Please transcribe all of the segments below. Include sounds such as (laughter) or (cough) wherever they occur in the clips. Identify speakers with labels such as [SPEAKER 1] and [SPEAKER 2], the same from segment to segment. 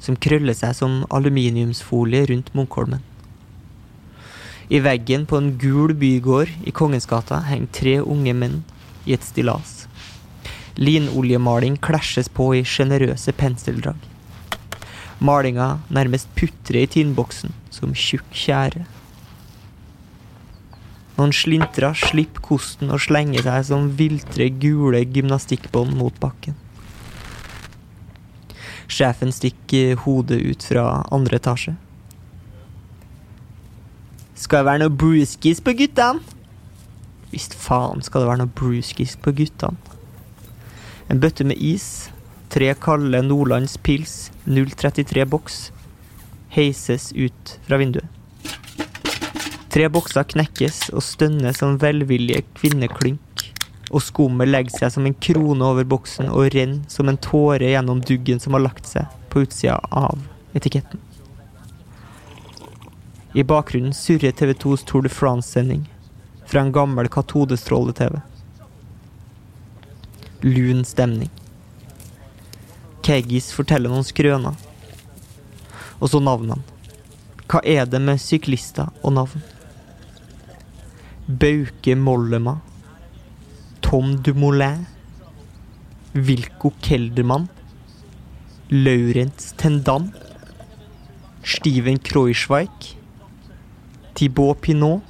[SPEAKER 1] som krøller seg som aluminiumsfolie rundt Munkholmen. I veggen på en gul bygård i Kongensgata henger tre unge menn i et stillas. Linoljemaling klæsjes på i sjenerøse penseldrag. Malinga nærmest putrer i tinnboksen som tjukk tjære. Noen slintrer slipper kosten og slenger seg som viltre, gule gymnastikkbånd mot bakken. Sjefen stikker hodet ut fra andre etasje. Skal det være noe bruskis på guttene? Visst faen skal det være noe bruskis på guttene. En bøtte med is, tre kalde Nordlands pils, 033 boks, heises ut fra vinduet. Tre bokser knekkes og stønner som velvillige kvinneklynk, og skummet legger seg som en krone over boksen og renner som en tåre gjennom duggen som har lagt seg på utsida av etiketten. I bakgrunnen surrer TV 2s Tour de France-sending fra en gammel katodestråle-TV. Lun stemning. Keggis forteller noen skrøner. Og så navnene. Hva er det med syklister og navn? Bauke Mollema. Tom Dumoulin. Wilco Keldermann. Laurents Tendam. Steven Kreuzweig. Thibaut Pinot.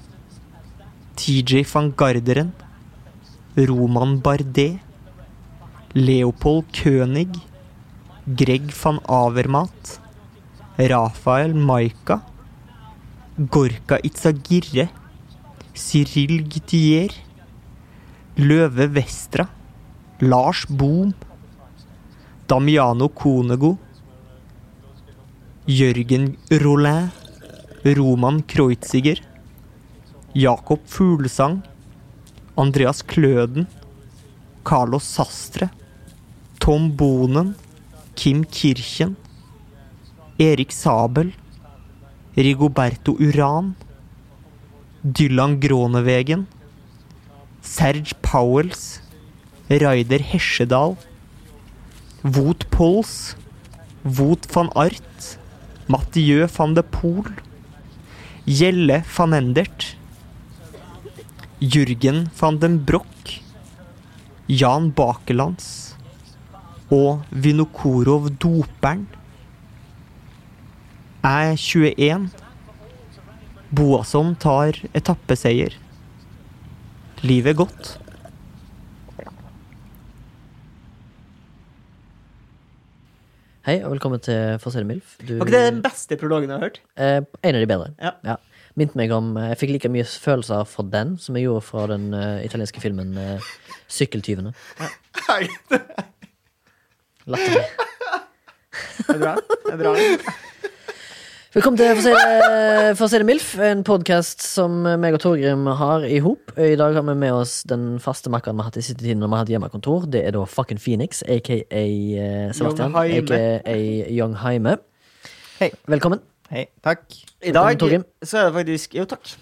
[SPEAKER 1] TJ van Garderen. Roman Bardet. Leopold König. Greg van Avermat. Rafael Maika. Gorka Itzagirre. Cyril Gittier. Løve Vestra. Lars Boom. Damiano Konego. Jørgen Rollin. Roman Kreutziger. Jakob Fuglesang. Andreas Kløden. Carlos Sastre. Tom Bonen. Kim Kirchen. Erik Sabel. Rigoberto Uran. Dylan Grånevegen. Serge Powells, Raider Hesjedal, Wout Pols, Wout van Art, Mathieu van de Poel, Gjelle van Endert, Jürgen van den Broch, Jan Bakelands og Vinokorov Doperen. Jeg er 21. E Boasson tar etappeseier. Livet er godt.
[SPEAKER 2] Hei, og velkommen til For å si det mildt. Du-
[SPEAKER 1] Var ikke det den beste prologen jeg har hørt?
[SPEAKER 2] Eh, en av de bedre.
[SPEAKER 1] Ja.
[SPEAKER 2] Minte meg om eh, Jeg fikk like mye følelser fra den som jeg gjorde fra den eh, italienske filmen eh, 'Sykkeltyvene'. Latterlig.
[SPEAKER 1] Det er bra. Det er bra.
[SPEAKER 2] Velkommen til For å si det, for å si det MILF, en podkast som meg og Torgrim har i hop. I dag har vi med oss den faste makkeren vi har hatt i siste tiden når vi har hatt hjemmekontor. Det er da fucking Phoenix, aka eh, Sebastian,
[SPEAKER 1] Young Haime.
[SPEAKER 2] aka Young Haime.
[SPEAKER 3] Hei.
[SPEAKER 2] Velkommen.
[SPEAKER 3] Hei, takk.
[SPEAKER 1] I dag
[SPEAKER 2] Torgrim.
[SPEAKER 1] så er det faktisk Jo, takk.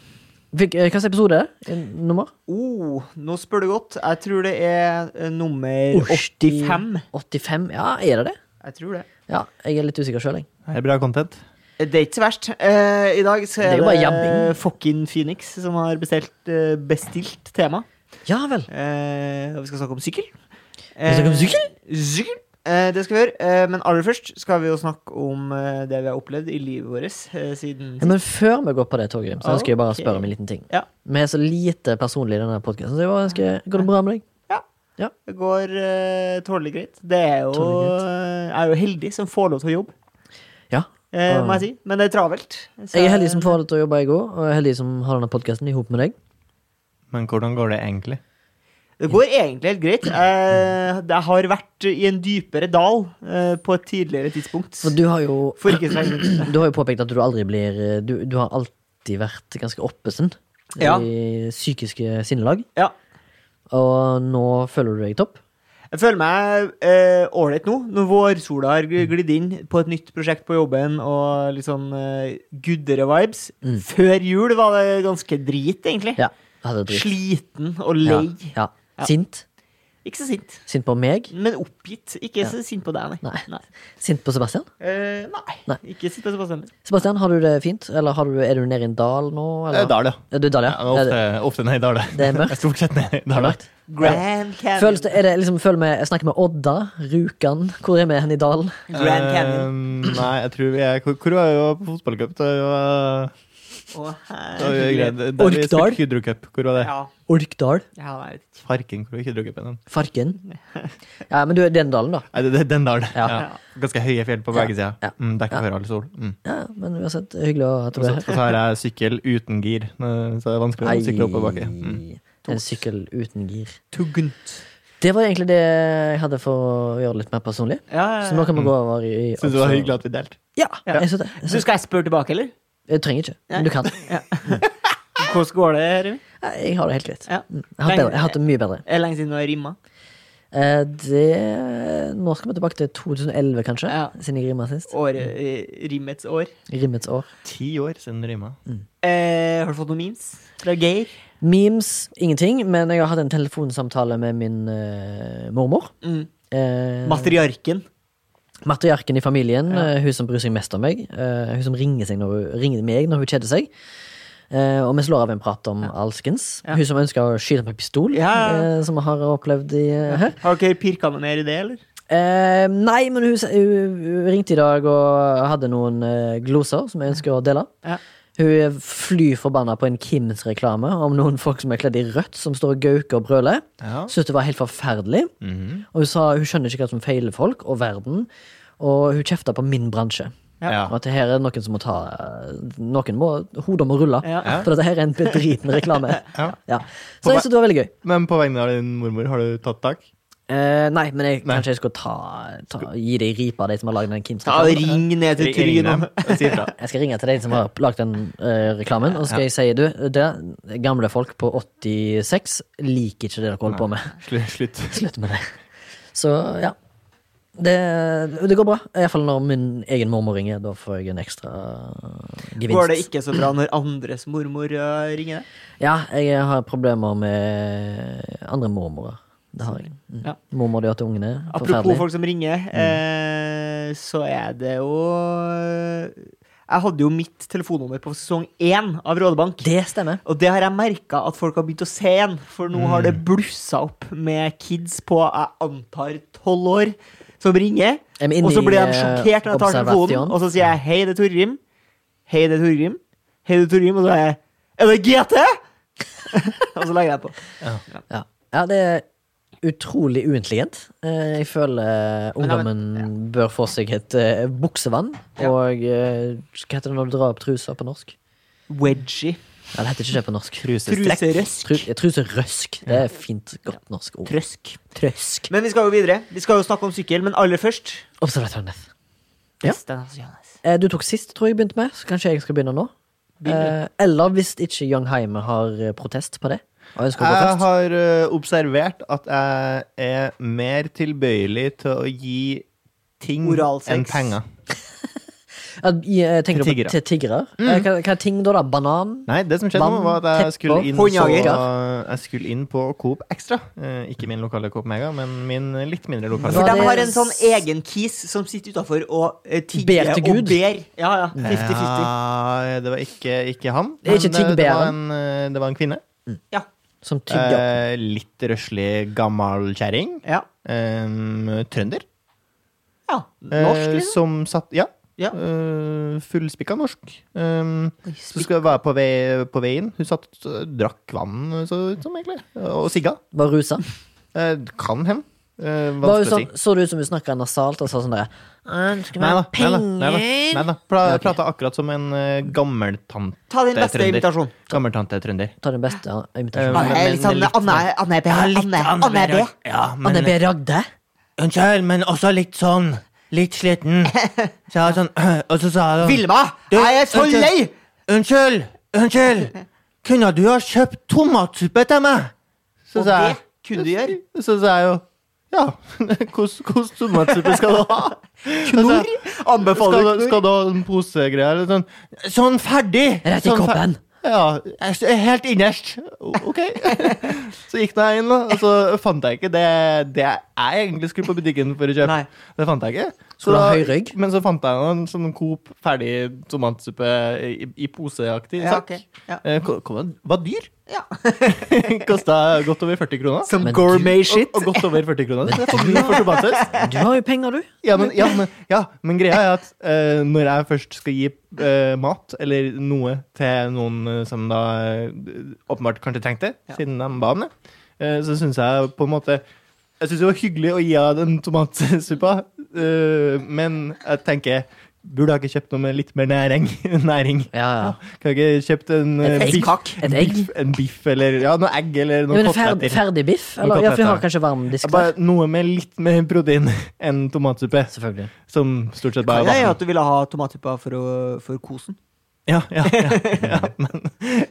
[SPEAKER 2] Hvilken eh, hva slags episode er det? En Nummer?
[SPEAKER 1] Oh, nå spør du godt. Jeg tror det er eh, nummer
[SPEAKER 2] Åtti-
[SPEAKER 1] 85.
[SPEAKER 2] 85? Ja, er det det?
[SPEAKER 1] Jeg tror det.
[SPEAKER 2] Ja, jeg er litt usikker sjøl, jeg.
[SPEAKER 3] Er det bra content?
[SPEAKER 1] Det er ikke så verst. Eh, I dag så
[SPEAKER 2] Det er
[SPEAKER 1] er
[SPEAKER 2] jo
[SPEAKER 1] det,
[SPEAKER 2] bare jabbing.
[SPEAKER 1] Fucking Phoenix som har bestilt, eh, bestilt tema.
[SPEAKER 2] Ja vel.
[SPEAKER 1] Eh, og vi skal snakke om sykkel.
[SPEAKER 2] Vi snakker om
[SPEAKER 1] Eh,
[SPEAKER 2] sykkel?
[SPEAKER 1] sykkel. Eh, det skal vi gjøre. Eh, men aller først skal vi jo snakke om eh, det vi har opplevd i livet vårt eh, siden
[SPEAKER 2] Ja, Men før vi går på det, Torgrim, så ønsker jeg bare å
[SPEAKER 1] Ok.
[SPEAKER 2] spørre om en liten ting.
[SPEAKER 1] Ja.
[SPEAKER 2] Vi er så lite personlige i denne podkasten, så jeg bare ønsker Går det bra med deg?
[SPEAKER 1] Det går uh, tålelig greit. Det er jo,
[SPEAKER 2] Tålelig greit.
[SPEAKER 1] eh, jeg er jo heldig som får lov til å jobbe,
[SPEAKER 2] Ja.
[SPEAKER 1] eh,
[SPEAKER 2] Ah.
[SPEAKER 1] må jeg si. Men det er travelt. Så-
[SPEAKER 2] Jeg er heldig som får det til å jobbe i går, og jeg er heldig som har denne podkasten i hop med deg.
[SPEAKER 3] Men hvordan går det egentlig?
[SPEAKER 1] Det går egentlig helt greit. Eh, Jeg har vært i en dypere dal eh, på et tidligere tidspunkt.
[SPEAKER 2] For du har jo (clears throat)
[SPEAKER 1] For ikke så lenge siden.
[SPEAKER 2] Du har jo påpekt at du aldri blir Du, du har alltid vært ganske oppesen
[SPEAKER 1] Ja.
[SPEAKER 2] i psykiske sinnelag.
[SPEAKER 1] Ja.
[SPEAKER 2] Og nå føler du deg topp.
[SPEAKER 1] Jeg føler meg eh, ålreit nå, når vårsola har gl- glidd inn på et nytt prosjekt på jobben og litt sånn eh, guddere vibes.
[SPEAKER 2] Mm.
[SPEAKER 1] Før jul var det ganske drit, egentlig.
[SPEAKER 2] Ja, jeg hadde dritt.
[SPEAKER 1] Sliten og lei.
[SPEAKER 2] Ja,
[SPEAKER 1] Ja.
[SPEAKER 2] ja. Sint.
[SPEAKER 1] Ikke så sint,
[SPEAKER 2] Sint på meg.
[SPEAKER 1] men oppgitt. Ikke så sint på deg, nei.
[SPEAKER 2] Nei. Sint på Sebastian.
[SPEAKER 1] Eh, nei.
[SPEAKER 2] Nei.
[SPEAKER 1] Ikke sint på Sebastian. heller.
[SPEAKER 2] Sebastian, har du det fint? Eller har du, er du nede i en dal nå?
[SPEAKER 3] Det
[SPEAKER 2] Eller?
[SPEAKER 3] er Dal, ja.
[SPEAKER 2] Er du i dal, ja?
[SPEAKER 3] Jeg er ofte, ofte nede i Dal. jeg.
[SPEAKER 2] Det er
[SPEAKER 3] (laughs)
[SPEAKER 2] mørkt.
[SPEAKER 3] Stort sett nede
[SPEAKER 2] Er
[SPEAKER 3] i
[SPEAKER 2] det
[SPEAKER 3] Dal. jeg.
[SPEAKER 2] mørkt?
[SPEAKER 1] Grand Canyon.
[SPEAKER 2] Føles det, er det liksom, føler vi, jeg snakker med Odda, Rjukan. Hvor er vi hen i dalen?
[SPEAKER 1] Grand Canyon.
[SPEAKER 3] Eh, nei, jeg tror vi er Hvor, hvor var jeg på fotballcup? Det var-
[SPEAKER 1] Å,
[SPEAKER 3] det var jo
[SPEAKER 1] herregud.
[SPEAKER 3] greit. Der vi
[SPEAKER 2] Orkdal?
[SPEAKER 3] spilte Hydrocup. Hvor var det?
[SPEAKER 1] Ja,
[SPEAKER 2] Orkdal?
[SPEAKER 1] ja, jeg vet ikke.
[SPEAKER 3] Farken, hvor var Hydrocupen? hen?
[SPEAKER 2] Farken? Ja, men du er i den dalen, da.
[SPEAKER 3] Nei, det, det er den Dal.
[SPEAKER 2] Ja.
[SPEAKER 3] Ja. Ganske høye fjell på begge sider.
[SPEAKER 2] Ja.
[SPEAKER 3] Mm, Dekka
[SPEAKER 2] Ja.
[SPEAKER 3] for all sol. Mm.
[SPEAKER 2] Ja, men uansett, hyggelig å at
[SPEAKER 3] Og
[SPEAKER 2] du
[SPEAKER 3] så
[SPEAKER 2] er
[SPEAKER 3] og
[SPEAKER 2] her.
[SPEAKER 3] så har jeg sykkel uten gir, eh, så det er vanskelig å sykle opp og bakke. Mm.
[SPEAKER 2] Ei, En sykkel uten gir.
[SPEAKER 1] Tuggent.
[SPEAKER 2] Det var egentlig det jeg hadde for å gjøre det litt mer personlig.
[SPEAKER 1] Ja, ja,
[SPEAKER 2] Så nå
[SPEAKER 1] ja.
[SPEAKER 2] kan vi gå over i
[SPEAKER 3] Syns Eh. det var hyggelig at vi delte.
[SPEAKER 2] Ja,
[SPEAKER 1] Ja.
[SPEAKER 2] jeg synes det. Jeg,
[SPEAKER 1] Så
[SPEAKER 2] synes,
[SPEAKER 1] skal jeg spørre tilbake, eller?
[SPEAKER 2] jeg trenger ikke, men du kan.
[SPEAKER 1] Hvordan går det, Remi?
[SPEAKER 2] Jeg har det helt greit.
[SPEAKER 1] Ja.
[SPEAKER 2] Mm, Jeg har, hatt bedre, jeg har hatt det mye bedre.
[SPEAKER 1] Er det lenge siden du har rimma?
[SPEAKER 2] Eh, Det, nå skal vi tilbake til 2011, kanskje,
[SPEAKER 1] Ja.
[SPEAKER 2] siden jeg rimmet sist.
[SPEAKER 1] Året, eh, rimmets år.
[SPEAKER 2] Rimmets år.
[SPEAKER 3] Ti år siden du rima.
[SPEAKER 2] Mm.
[SPEAKER 1] Eh, har du fått noen memes fra Geir?
[SPEAKER 2] Memes, ingenting, men jeg har hatt en telefonsamtale med min eh, mormor.
[SPEAKER 1] Mm.
[SPEAKER 2] Eh,
[SPEAKER 1] Matriarken.
[SPEAKER 2] Matriarken i familien,
[SPEAKER 1] Ja.
[SPEAKER 2] eh, hun som bryr seg mest om meg. eh, hun som ringer, seg når hun, ringer meg når hun kjeder seg. Eh, og vi slår av en prat om alskens.
[SPEAKER 1] Ja.
[SPEAKER 2] Hun som ønsker å skyte med pistol,
[SPEAKER 1] Ja, ja, ja.
[SPEAKER 2] eh, som vi har opplevd i, eh, her.
[SPEAKER 1] Har dere pirka noe mer i det, eller?
[SPEAKER 2] Eh, nei, men hun, s- hun, hun ringte i dag og hadde noen eh, gloser som jeg ønsker å dele.
[SPEAKER 1] Ja.
[SPEAKER 2] Hun er fly forbanna på en Kims-reklame om noen folk som er kledd i rødt, som står og gauker og brøler.
[SPEAKER 3] Ja.
[SPEAKER 2] Syntes det var helt forferdelig.
[SPEAKER 3] Mhm.
[SPEAKER 2] Og hun sa hun skjønner ikke hva som feiler folk og verden. Og hun kjefta på min bransje.
[SPEAKER 1] Ja.
[SPEAKER 3] ja.
[SPEAKER 2] Og at det her er noen som må ta Noen må, hodet må rulle.
[SPEAKER 1] Ja.
[SPEAKER 3] Ja.
[SPEAKER 2] For dette her er en bedriten reklame.
[SPEAKER 3] Ja.
[SPEAKER 2] Ja. Så jeg syntes det var veldig gøy.
[SPEAKER 3] Men på vegne av din mormor, har du tatt tak?
[SPEAKER 2] Eh, nei, men jeg,
[SPEAKER 3] Nei.
[SPEAKER 2] kanskje jeg skulle ta, ta, gi det i ripa, de som har lagd den
[SPEAKER 1] Ja,
[SPEAKER 2] Kims-reklamen.
[SPEAKER 1] ring ned til
[SPEAKER 3] Ring dem
[SPEAKER 1] Tryn.
[SPEAKER 3] og si ifra.
[SPEAKER 2] Jeg skal ringe til de som har lagd den eh, reklamen, og så skal jeg si du, det, gamle folk på 86 liker ikke det dere holder på med.
[SPEAKER 3] Slutt. slutt.
[SPEAKER 2] Slutt med det. Så ja. Det, det går bra. Iallfall når min egen mormor ringer. Da får jeg en ekstra eh, gevinst.
[SPEAKER 1] Går det ikke så bra når andres mormor eh, ringer deg?
[SPEAKER 2] Ja, jeg har problemer med andre mormorer. Det har jeg. Mm.
[SPEAKER 1] Ja.
[SPEAKER 2] Mormor de har til ungene.
[SPEAKER 1] Apropos
[SPEAKER 2] Forferdelig. Mm.
[SPEAKER 1] folk som ringer, eh, så er det jo eh, Jeg hadde jo mitt telefonnummer på sesong én av Rådebank.
[SPEAKER 2] Det stemmer.
[SPEAKER 1] Og det har jeg merka at folk har begynt å se igjen, for nå har det
[SPEAKER 2] Mm.
[SPEAKER 1] blussa opp med kids på jeg antar tolv år, som ringer.
[SPEAKER 2] Er vi inne
[SPEAKER 1] Og så blir
[SPEAKER 2] i, eh,
[SPEAKER 1] de sjokkert når jeg tar
[SPEAKER 2] observation?
[SPEAKER 1] telefonen, og så sier jeg hei, det er Torgrim. Hei, det er Torgrim. Hei, det er Torgrim. Og så er jeg Er det GT?! (laughs) og så legger jeg på.
[SPEAKER 2] Ja. ja, det er utrolig uintelligent. Eh, Jeg føler ungdommen bør få seg et eh, buksevann.
[SPEAKER 1] Ja.
[SPEAKER 2] Og eh, hva heter det når du drar opp trusa på norsk?
[SPEAKER 1] Wedgie.
[SPEAKER 2] Ja, det heter ikke det på norsk.
[SPEAKER 3] Trusestrekk.
[SPEAKER 1] Truserøsk.
[SPEAKER 2] Tru, eh, truserøsk. Det er fint, godt norsk ord.
[SPEAKER 1] Trøsk.
[SPEAKER 2] Trøsk.
[SPEAKER 1] Men vi skal jo videre. Vi skal jo snakke om sykkel, men aller først
[SPEAKER 2] Observatør Neth. Ja.
[SPEAKER 1] Testen av Johannes.
[SPEAKER 2] Eh, Du tok sist, tror jeg, begynte med, så kanskje jeg skal begynne nå.
[SPEAKER 1] Begynn
[SPEAKER 2] Eh, eller hvis ikke Young Heime har eh, protest på det. Og ønsker å gå
[SPEAKER 3] Jeg
[SPEAKER 2] først.
[SPEAKER 3] har eh, observert at jeg er mer tilbøyelig til å gi ting
[SPEAKER 1] Oralsex.
[SPEAKER 3] enn penger.
[SPEAKER 2] Ja, i, eh, tenker du
[SPEAKER 3] Til tiggere. Mm.
[SPEAKER 2] på til tiggere? Eh, Hva, hva er ting da, da? Banan?
[SPEAKER 3] Nei, det som skjedde nå,
[SPEAKER 2] Vann,
[SPEAKER 3] var at jeg
[SPEAKER 2] teppe,
[SPEAKER 3] skulle inn, på,
[SPEAKER 1] håndjager.
[SPEAKER 3] jeg skulle inn på Coop Extra. Eh, ikke min lokale Coop Mega, men min litt mindre
[SPEAKER 2] Hva
[SPEAKER 3] lokale.
[SPEAKER 1] For
[SPEAKER 2] er
[SPEAKER 1] de
[SPEAKER 2] det-
[SPEAKER 1] har en sånn egen kis som sitter utafor og eh, tigger
[SPEAKER 2] Ber til
[SPEAKER 1] og
[SPEAKER 2] Gud.
[SPEAKER 1] ber. Ja, ja. 50-50.
[SPEAKER 3] Ja, det var ikke, ikke han.
[SPEAKER 2] Det er ikke
[SPEAKER 3] men, eh, det, var
[SPEAKER 2] tiggbæren.
[SPEAKER 3] en, eh, det var en kvinne.
[SPEAKER 1] Ja.
[SPEAKER 2] Som tygger?
[SPEAKER 3] Eh, litt røslig gammel kjerring.
[SPEAKER 1] ja.
[SPEAKER 3] Eh, trønder.
[SPEAKER 1] ja.
[SPEAKER 3] Eh,
[SPEAKER 1] Norsk, liksom.
[SPEAKER 3] Som satt Ja.
[SPEAKER 1] Ja.
[SPEAKER 3] Eh, Fullspikka norsk. Eh,
[SPEAKER 1] Oi,
[SPEAKER 3] så skulle jeg være på vei, på vei inn. Hun satt eh, og drakk vann, så ut som, egentlig. Og sigga.
[SPEAKER 2] Var rusa?
[SPEAKER 3] Eh, kan hende. Eh,
[SPEAKER 2] Var jo
[SPEAKER 3] vanskelig å si.
[SPEAKER 2] sånn, så det ut som hun snakka nasalt og sa sånn derre Ønsker
[SPEAKER 3] Nei
[SPEAKER 2] meg
[SPEAKER 3] da. Nei da. Nei da. Nei
[SPEAKER 2] penger.
[SPEAKER 3] da. Pra-
[SPEAKER 2] Ja, ok.
[SPEAKER 3] Prata akkurat som en eh, gammeltante
[SPEAKER 1] Ta din beste
[SPEAKER 3] Trønder.
[SPEAKER 1] invitasjon.
[SPEAKER 3] Gammeltante trønder.
[SPEAKER 2] Ta den beste ja, Ah,
[SPEAKER 3] Eh,
[SPEAKER 2] invitasjonen.
[SPEAKER 3] men-
[SPEAKER 1] Anne,
[SPEAKER 3] men- men
[SPEAKER 1] liksom,
[SPEAKER 3] litt- sånn-
[SPEAKER 1] Anne, Anne B. Anne, Anne B.
[SPEAKER 3] Ja,
[SPEAKER 2] Anne B. Ragde?
[SPEAKER 3] Unnskyld, men også litt sånn. Litt sliten.
[SPEAKER 1] (laughs)
[SPEAKER 3] Så jeg sånn, (clears throat) og så sa jeg
[SPEAKER 1] Vilma,
[SPEAKER 3] Du,
[SPEAKER 1] jeg er så
[SPEAKER 3] unnskyld.
[SPEAKER 1] lei!
[SPEAKER 3] Unnskyld! Unnskyld!
[SPEAKER 1] (laughs)
[SPEAKER 3] Kunne du ha kjøpt tomatsuppe til meg? Så
[SPEAKER 1] Og
[SPEAKER 3] sa
[SPEAKER 1] det
[SPEAKER 3] jeg-
[SPEAKER 1] kunne du gjøre.
[SPEAKER 3] Så sa jeg jo Ja, (laughs) hvordan tomatsuppe skal du
[SPEAKER 1] (laughs)
[SPEAKER 3] ha? Knor? Skal
[SPEAKER 1] Anbefaler
[SPEAKER 3] du, skal du ha en posegreie eller sånn? Sånn ferdig!
[SPEAKER 2] Rett i
[SPEAKER 3] Sånn fer-
[SPEAKER 2] koppen.
[SPEAKER 3] Ja. jeg er Helt innerst. O- Ok. (laughs) Så gikk jeg inn, da, og så fant jeg ikke det, det jeg egentlig skulle på butikken for å kjøpe.
[SPEAKER 1] Nei.
[SPEAKER 3] Det fant jeg ikke. Så
[SPEAKER 2] Skulle ha
[SPEAKER 3] da-
[SPEAKER 2] høy rygg?
[SPEAKER 3] Men så fant jeg en sånn Coop ferdig tomatsuppe i, i poseaktig
[SPEAKER 1] Ja,
[SPEAKER 3] sak.
[SPEAKER 1] ok. Ja.
[SPEAKER 3] Eh, ko- kom den- var dyr. (laughs)
[SPEAKER 1] Ja.
[SPEAKER 3] Kosta godt over 40 kroner.
[SPEAKER 1] Som
[SPEAKER 2] Men du-
[SPEAKER 1] gourmet shit.
[SPEAKER 3] Og, og godt over 40 kroner. Det er
[SPEAKER 2] (laughs)
[SPEAKER 3] for mye for tomatsaus.
[SPEAKER 2] Du har jo penger, du.
[SPEAKER 3] Ja, men, ja, men, ja, men greia er at eh, når jeg først skal gi eh, mat, eller noe, til noen eh, som da eh, åpenbart kanskje trengte det,
[SPEAKER 1] Ja.
[SPEAKER 3] siden de ba om det, eh, så syns jeg på en måte Jeg syns det var hyggelig å gi henne den tomatsuppa, eh, men jeg tenker Burde jeg ikke kjøpt noe med litt mer næring? (laughs) næring.
[SPEAKER 2] Ja, ja.
[SPEAKER 3] Kan jeg ikke kjøpt en eh,
[SPEAKER 2] Et egg.
[SPEAKER 3] biff,
[SPEAKER 1] Kakk.
[SPEAKER 2] Et egg.
[SPEAKER 3] biff- en biff eller ja, noe egg eller
[SPEAKER 2] Ja,
[SPEAKER 3] noe
[SPEAKER 2] men ferdig,
[SPEAKER 3] koteletter?
[SPEAKER 2] ferdig biff?
[SPEAKER 3] Noen
[SPEAKER 2] Eller, ja, for de har
[SPEAKER 3] koteletter.
[SPEAKER 2] kanskje varmdisk der.
[SPEAKER 3] Bare noe med litt mer protein (laughs) enn tomatsuppe.
[SPEAKER 2] Selvfølgelig.
[SPEAKER 3] Som stort sett bare
[SPEAKER 1] Det er
[SPEAKER 3] er
[SPEAKER 1] jo
[SPEAKER 3] vann.
[SPEAKER 1] at du ville ha tomatsuppa for, å- for kosen.
[SPEAKER 3] Ja, ja, ja, (laughs) ja, men,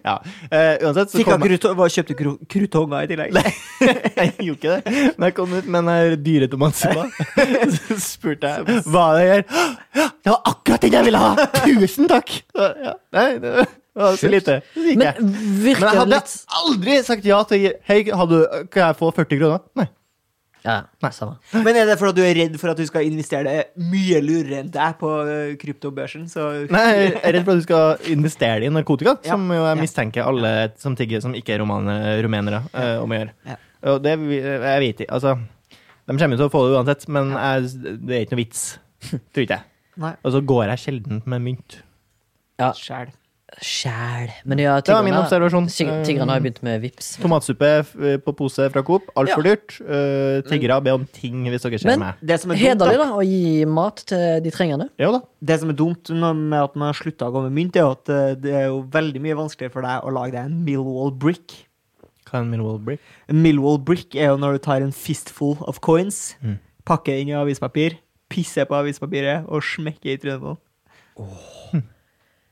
[SPEAKER 3] ja. Eh, uansett så
[SPEAKER 1] Fikk
[SPEAKER 3] kom
[SPEAKER 1] jeg
[SPEAKER 3] jeg
[SPEAKER 1] kruto- hva, kjøpte kru- krutonger i (laughs) tillegg.
[SPEAKER 3] (laughs) Jeg gjorde ikke det. Men jeg kom ut med eh, den der dyre (laughs) tomatsuppa. Så spurte jeg hva det gjør. (gasps) «Hå! Det var akkurat den jeg ville ha! Tusen takk! (laughs) Ja, nei, det var så lite. Så gikk jeg.
[SPEAKER 2] Men
[SPEAKER 3] Men jeg
[SPEAKER 2] virker
[SPEAKER 3] hadde
[SPEAKER 2] litt
[SPEAKER 3] aldri sagt ja til å gi Hei, har du, kan jeg få 40 kroner? Nei.
[SPEAKER 2] Ja, samme.
[SPEAKER 1] Men er det fordi du er redd for at du skal investere det mye lurere enn deg på eh, kryptobørsen? Så
[SPEAKER 3] Nei, jeg er redd for at du skal investere i narkotika,
[SPEAKER 1] Ja.
[SPEAKER 3] som jo jeg
[SPEAKER 1] Ja.
[SPEAKER 3] mistenker alle som tigger som ikke er romane- rumenere, eh, om å gjøre.
[SPEAKER 1] Ja.
[SPEAKER 3] Og det vi- jeg vet ikke, altså De kommer til å få det uansett, men jeg, det er ikke noe vits. Tror ikke jeg.
[SPEAKER 1] (laughs) Nei.
[SPEAKER 3] Og så går jeg sjelden med mynt.
[SPEAKER 2] Ja,
[SPEAKER 1] Sjæl.
[SPEAKER 2] sjæl. Men ja,
[SPEAKER 3] Det var min
[SPEAKER 2] tigrene-
[SPEAKER 3] observasjon. Eh,
[SPEAKER 2] sig- Tigrene har jo begynt med vips.
[SPEAKER 3] Tomatsuppe f- på pose fra Coop, altfor dyrt. Uh, tiggere ber om ting hvis dere ser
[SPEAKER 2] Men-
[SPEAKER 3] meg.
[SPEAKER 1] Det som er dumt,
[SPEAKER 2] Hederlig,
[SPEAKER 1] da,
[SPEAKER 2] da, å gi mat til de trengende.
[SPEAKER 3] Jo da.
[SPEAKER 1] det som er dumt nå med at man har slutta å gå med mynt, er jo at eh, det er jo veldig mye vanskeligere for deg å lage deg en Millwall brick.
[SPEAKER 3] Hva er en Millwall brick?
[SPEAKER 1] En Millwall brick er jo når du tar en fistful of coins,
[SPEAKER 3] Mm.
[SPEAKER 1] pakker inn i avispapir, pisser på avispapiret og smekker i trynet på den.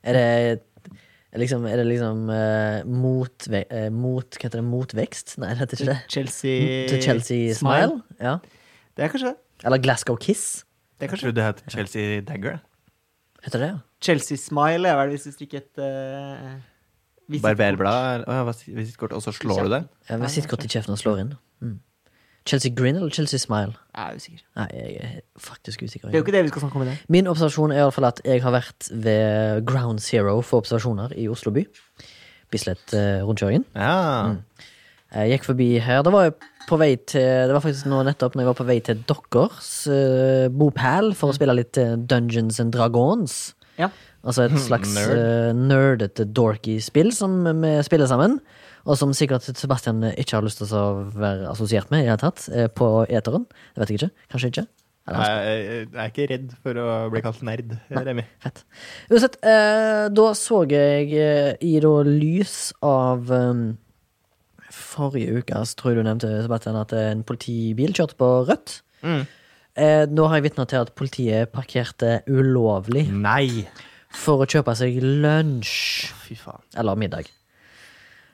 [SPEAKER 2] Er det liksom, er det liksom eh, motve, eh, mot Hva heter det? Motvekst? Nei, det heter ikke det.
[SPEAKER 1] Chelsea
[SPEAKER 2] Til Chelsea Smile? Ja.
[SPEAKER 1] Det er kanskje det.
[SPEAKER 2] Eller Glasgow Kiss?
[SPEAKER 1] det er kanskje.
[SPEAKER 3] det het Chelsea Dagger.
[SPEAKER 2] Heter det, ja.
[SPEAKER 1] Chelsea Smile er vel hvis du stikker et eh, visitkort.
[SPEAKER 3] Barberblad, å ja, visittkort, og så slår du det?
[SPEAKER 2] Jeg vil sitte godt i kjeften og slår inn. Mm. Chelsea Green eller Chelsea Smile?
[SPEAKER 1] Jeg er usikker.
[SPEAKER 2] Nei, jeg er faktisk usikker.
[SPEAKER 1] Det er jo ikke det vi skal snakke om i dag.
[SPEAKER 2] Min observasjon er i alle fall at jeg har vært ved ground zero for observasjoner i Oslo by. Bislett-rundkjøringen.
[SPEAKER 3] Ja.
[SPEAKER 1] Mm.
[SPEAKER 2] Jeg gikk forbi her. Det var, jeg på vei til, det var faktisk nå nettopp når jeg var på vei til deres eh, bopæl for å spille litt eh, Dungeons and Dragons.
[SPEAKER 1] Ja.
[SPEAKER 2] Altså et slags
[SPEAKER 3] Nerd.
[SPEAKER 2] eh, nerdete, dorky spill som vi spiller sammen. Og som sikkert Sebastian ikke har lyst til å være assosiert med i det hele tatt. eh, På eteren. Det vet jeg ikke. Kanskje ikke. Eller
[SPEAKER 3] Jeg, jeg, jeg er ikke redd for å bli kalt nerd, Remi.
[SPEAKER 2] Fett. Uansett, eh, da så jeg eh, i da lys av eh, Forrige uke så tror jeg du nevnte Sebastian, at en politibil kjørte på rødt.
[SPEAKER 3] Mm.
[SPEAKER 2] Eh, nå har jeg vitna til at politiet parkerte ulovlig
[SPEAKER 3] Nei!
[SPEAKER 2] for å kjøpe seg lunsj
[SPEAKER 3] Fy faen.
[SPEAKER 2] eller middag.